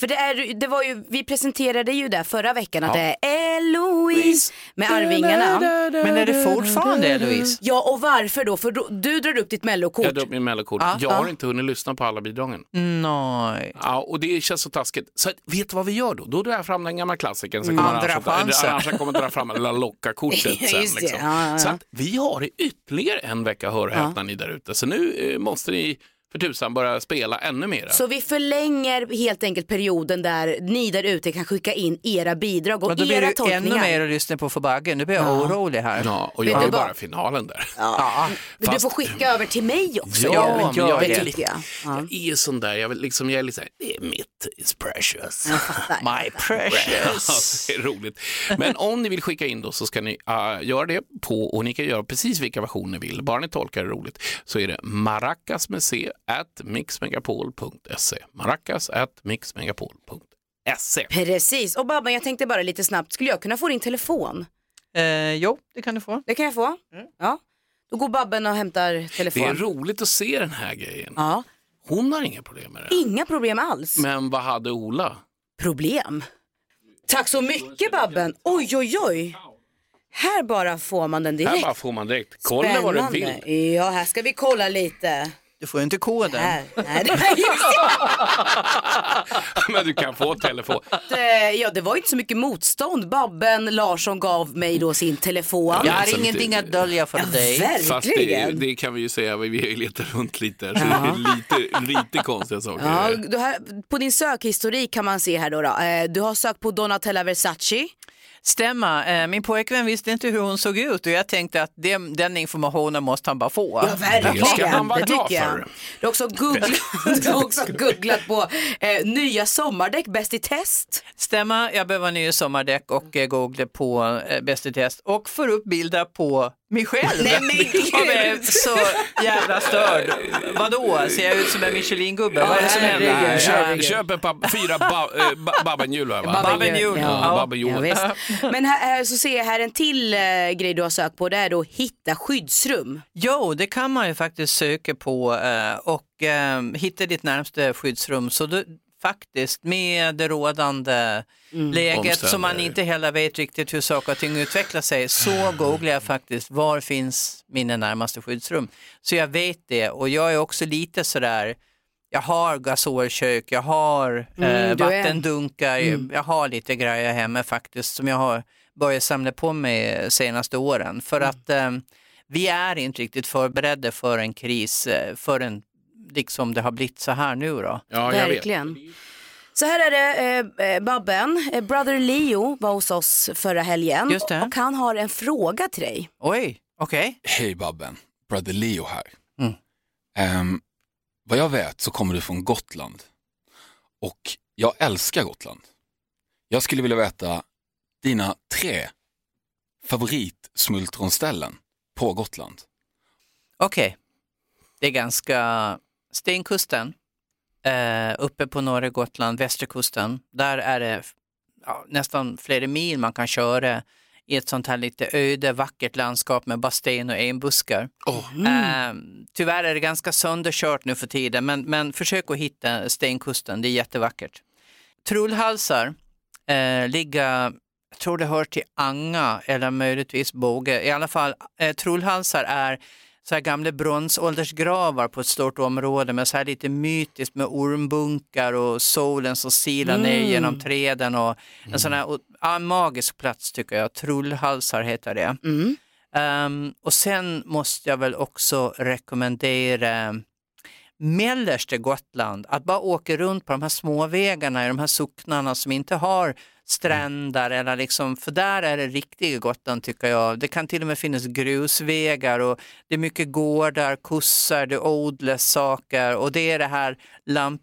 [SPEAKER 2] För det är, det var ju, vi presenterade ju det förra veckan att
[SPEAKER 1] Ja.
[SPEAKER 2] det är Eloise med Arvingarna.
[SPEAKER 3] Men är det fortfarande
[SPEAKER 2] Mm.
[SPEAKER 3] Eloise?
[SPEAKER 2] Ja och varför då? För då, du drar upp ditt mellokort.
[SPEAKER 1] Jag drar upp min mellokort.
[SPEAKER 2] Ja,
[SPEAKER 1] jag har
[SPEAKER 2] ja.
[SPEAKER 1] inte hunnit lyssna på alla bidragen.
[SPEAKER 3] Nej.
[SPEAKER 1] Ja, och det känns så taskigt. Så att, vet du vad vi gör då? Då drar jag fram den gamla klassikern. Sen
[SPEAKER 3] Mm.
[SPEAKER 1] kommer
[SPEAKER 3] Andra
[SPEAKER 1] Arantxa-
[SPEAKER 3] chansen.
[SPEAKER 1] Arantxa kommer dra fram La Locka-kortet sen.
[SPEAKER 3] Just det,
[SPEAKER 1] Liksom.
[SPEAKER 3] ja, ja, ja.
[SPEAKER 1] Så att vi har i ytterligare en vecka, hör och häpna ni där ute. Så nu eh, måste ni för tusan börja spela ännu mer.
[SPEAKER 2] Så vi förlänger helt enkelt perioden där ni där ute kan skicka in era bidrag och,
[SPEAKER 3] Men då blir
[SPEAKER 2] era
[SPEAKER 3] det ju
[SPEAKER 2] tolkningar.
[SPEAKER 3] ännu mer att lyssna på för Bagge. Nu blir jag orolig här.
[SPEAKER 1] Ja, och
[SPEAKER 2] Vet
[SPEAKER 1] jag har
[SPEAKER 2] du
[SPEAKER 1] ju
[SPEAKER 2] vad?
[SPEAKER 1] bara finalen där.
[SPEAKER 2] Ja. Men Du
[SPEAKER 1] Fast-
[SPEAKER 2] får skicka över till mig också.
[SPEAKER 1] Ja, men
[SPEAKER 2] det
[SPEAKER 1] gör det.
[SPEAKER 2] tycker jag.
[SPEAKER 1] Jag är sån där, jag, vill liksom, jag är lite så här, det är mitt, it's precious.
[SPEAKER 3] My precious.
[SPEAKER 1] Ja, det är roligt. Men om ni vill skicka in då så ska ni äh, göra det på, och ni kan göra precis vilka versioner ni vill, bara ni tolkar det roligt, så är det maracas med c at mixmegapol.se. Maracas at mixmegapol.se.
[SPEAKER 2] Precis, och Babben jag tänkte bara lite snabbt, skulle jag kunna få din telefon?
[SPEAKER 3] Eh, jo, det kan du få.
[SPEAKER 2] Det kan jag få? Ja. Då går Babben och hämtar
[SPEAKER 1] Mm. Det är
[SPEAKER 2] telefonen.
[SPEAKER 1] roligt att se den här grejen.
[SPEAKER 2] Ja.
[SPEAKER 1] Hon har inga problem med det.
[SPEAKER 2] Inga problem alls.
[SPEAKER 1] Men vad hade Ola?
[SPEAKER 2] Problem. Tack så mycket Babben. Oj, oj, oj. Här bara får man
[SPEAKER 1] Här
[SPEAKER 2] den direkt.
[SPEAKER 1] bara får man direkt, kolla vad du vill.
[SPEAKER 2] Spännande. Ja, här ska vi kolla lite.
[SPEAKER 3] Du får ju inte koden.
[SPEAKER 2] Här. Nej, det var ju-
[SPEAKER 1] Men du kan få telefon.
[SPEAKER 2] Eh, ja, det var ju inte så mycket motstånd. Babben Larsson gav mig då sin telefon.
[SPEAKER 1] Ja,
[SPEAKER 3] Jag har
[SPEAKER 1] Alltså,
[SPEAKER 3] ingenting
[SPEAKER 1] det-
[SPEAKER 3] att dölja för
[SPEAKER 2] Alltså,
[SPEAKER 3] dig.
[SPEAKER 2] Verkligen.
[SPEAKER 1] Fast det, det kan vi ju säga, vi har ju letat runt lite här, så det är lite, lite konstiga saker.
[SPEAKER 2] Ja, du har, på din sökhistorik kan man se här då. då. Eh, du har sökt på Donatella Versace.
[SPEAKER 3] Stämma, eh, min pojkvän visste inte hur hon såg ut och jag tänkte att det, den informationen måste han bara få.
[SPEAKER 1] Det ska han vara
[SPEAKER 2] Det
[SPEAKER 1] glad
[SPEAKER 2] tycker jag.
[SPEAKER 1] för.
[SPEAKER 2] Du har också googlat, du har också googlat på eh, nya sommardäck, bäst i test.
[SPEAKER 3] Stämma, jag behöver nya sommardäck och eh, Google på eh, Bäst i test och får upp bilder på mig själv.
[SPEAKER 2] Nej, men gud.
[SPEAKER 3] Jag blev så jävla störd. Vadå, ser jag ut som en Michelin-gubbe? Vad är det som händer?
[SPEAKER 2] herregud.
[SPEAKER 3] här?
[SPEAKER 1] Köp, köp ett par, fyra ba, äh, ba, Babben-hjul här va?
[SPEAKER 3] Babben Jul.
[SPEAKER 1] Ja, Babben Jul.
[SPEAKER 2] Ja, visst. Men här, här så ser jag här en till eh, grej du har sökt på. Det är då hitta skyddsrum.
[SPEAKER 3] Jo, det kan man ju faktiskt söka på eh, och eh, hitta ditt närmaste skyddsrum. Så du, faktiskt med det rådande läget som man
[SPEAKER 1] Omständigheter.
[SPEAKER 3] inte heller vet riktigt hur saker och ting utvecklar sig så googlar jag faktiskt var finns mina närmaste skyddsrum. Så jag vet det och jag är också lite sådär jag har gasolkök, jag har
[SPEAKER 2] Mm,
[SPEAKER 3] eh,
[SPEAKER 2] du är-
[SPEAKER 3] vattendunkar,
[SPEAKER 2] Mm.
[SPEAKER 3] jag har lite grejer hemma faktiskt som jag har börjat samla på mig senaste åren. För
[SPEAKER 2] Mm.
[SPEAKER 3] att eh, vi är inte riktigt förberedda för en kris eh, förrän liksom det har blivit så här nu då.
[SPEAKER 1] Ja,
[SPEAKER 2] Verkligen. Så här är det, eh, eh, Babben, eh, Brother Leo var hos oss förra helgen
[SPEAKER 12] Just det.
[SPEAKER 2] och han har en fråga till dig.
[SPEAKER 3] Oj, okej.
[SPEAKER 12] Hej Babben, Brother Leo här.
[SPEAKER 2] Mm.
[SPEAKER 12] Ehm, vad jag vet så kommer du från Gotland och jag älskar Gotland. Jag skulle vilja veta dina tre favoritsmultronställen på Gotland.
[SPEAKER 3] Okej, det är ganska stenkusten, eh, uppe på norra Gotland, västerkusten. Där är det f- ja, nästan flera mil man kan köra i ett sånt här lite öde, vackert landskap med bara sten och enbuskar. Eh, tyvärr är det ganska sönderkört nu för tiden, men, men försök att hitta stenkusten, det är jättevackert. Trullhalsar eh, ligger, jag tror det hör till Anga eller möjligtvis Båge. I alla fall, eh, Trullhalsar är så här gamla bronsåldersgravar på ett stort område med så här lite mytiskt med ormbunkar och solen som silar ner
[SPEAKER 13] Mm.
[SPEAKER 3] genom träden och en sån här och, ja, magisk plats tycker jag. Trullhalsar heter det. Ehm, och sen måste jag väl också rekommendera mellersta Gotland, att bara åka runt på de här småvägarna i de här socknarna som inte har stränder
[SPEAKER 2] Mm.
[SPEAKER 3] eller liksom, för där är det riktiga Gotland tycker jag. Det kan till och med finnas grusvägar och det är mycket gårdar, kossar, det odlas saker och det är det här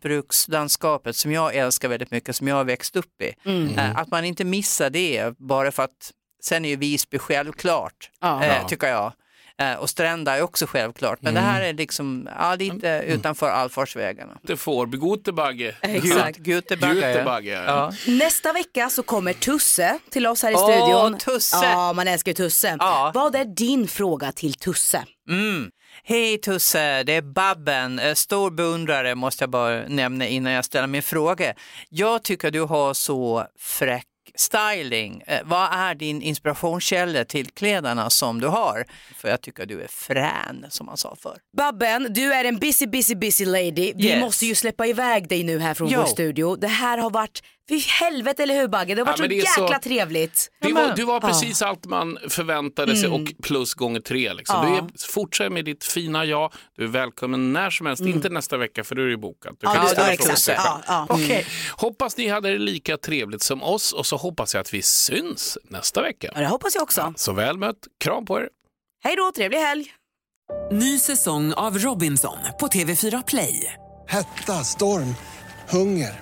[SPEAKER 3] lantbrukslandskapet som jag älskar väldigt mycket, som jag har växt upp i.
[SPEAKER 2] Mm.
[SPEAKER 3] Eh, Att man inte missar det bara för att sen är ju Visby självklart,
[SPEAKER 2] Ja.
[SPEAKER 3] eh,
[SPEAKER 2] Ja.
[SPEAKER 3] tycker jag. Eh, Och Strända är också självklart, men det här är liksom ja, lite utanför allfarvägarna.
[SPEAKER 1] Det får bli Gotebagge.
[SPEAKER 3] Exakt. Gutebagge.
[SPEAKER 1] Gutebagge, ja.
[SPEAKER 3] Ja.
[SPEAKER 2] Nästa vecka så kommer Tusse till oss här i
[SPEAKER 3] Åh,
[SPEAKER 2] studion.
[SPEAKER 3] Tusse!
[SPEAKER 2] Ja, man älskar ju Tusse. Vad är din fråga till Tusse?
[SPEAKER 3] Mm. Hej Tusse, eh, det är Babben. Eh, Stor beundrare måste jag bara nämna innan jag ställer min fråga. Jag tycker du har så fräck styling. Eh, Vad är din inspirationskälla till kläderna som du har? För jag tycker du är frän som man sa förr.
[SPEAKER 2] Babben, du är en busy, busy, busy lady. Vi
[SPEAKER 3] Yes.
[SPEAKER 2] måste ju släppa iväg dig nu här från
[SPEAKER 3] Jo.
[SPEAKER 2] vår studio. Det här har varit, fy helvete eller hur Bagge? Det har
[SPEAKER 1] Ja,
[SPEAKER 2] varit
[SPEAKER 1] men det är
[SPEAKER 2] så
[SPEAKER 1] så-
[SPEAKER 2] jäkla trevligt.
[SPEAKER 1] Det var, du var
[SPEAKER 2] Ja.
[SPEAKER 1] precis allt man förväntade sig
[SPEAKER 2] Mm.
[SPEAKER 1] och plus gånger tre. Liksom.
[SPEAKER 2] Ja.
[SPEAKER 1] Du är, fortsätt med ditt fina ja. Du är välkommen när som helst,
[SPEAKER 2] Mm.
[SPEAKER 1] inte nästa vecka för då är du bokad. Du
[SPEAKER 2] Ja,
[SPEAKER 1] kan
[SPEAKER 2] det-
[SPEAKER 1] ställa
[SPEAKER 2] ja,
[SPEAKER 1] frågor
[SPEAKER 2] exakt.
[SPEAKER 1] till dig själv.
[SPEAKER 2] Ja, ja. Mm.
[SPEAKER 1] Okej. Hoppas ni hade det lika trevligt som oss och så hoppas jag att vi syns nästa vecka.
[SPEAKER 2] Ja, det hoppas jag också.
[SPEAKER 1] Så väl mött, kram på er.
[SPEAKER 2] Hej då, trevlig helg.
[SPEAKER 14] Ny säsong av Robinson på TV4 Play.
[SPEAKER 15] Hetta, storm, hunger.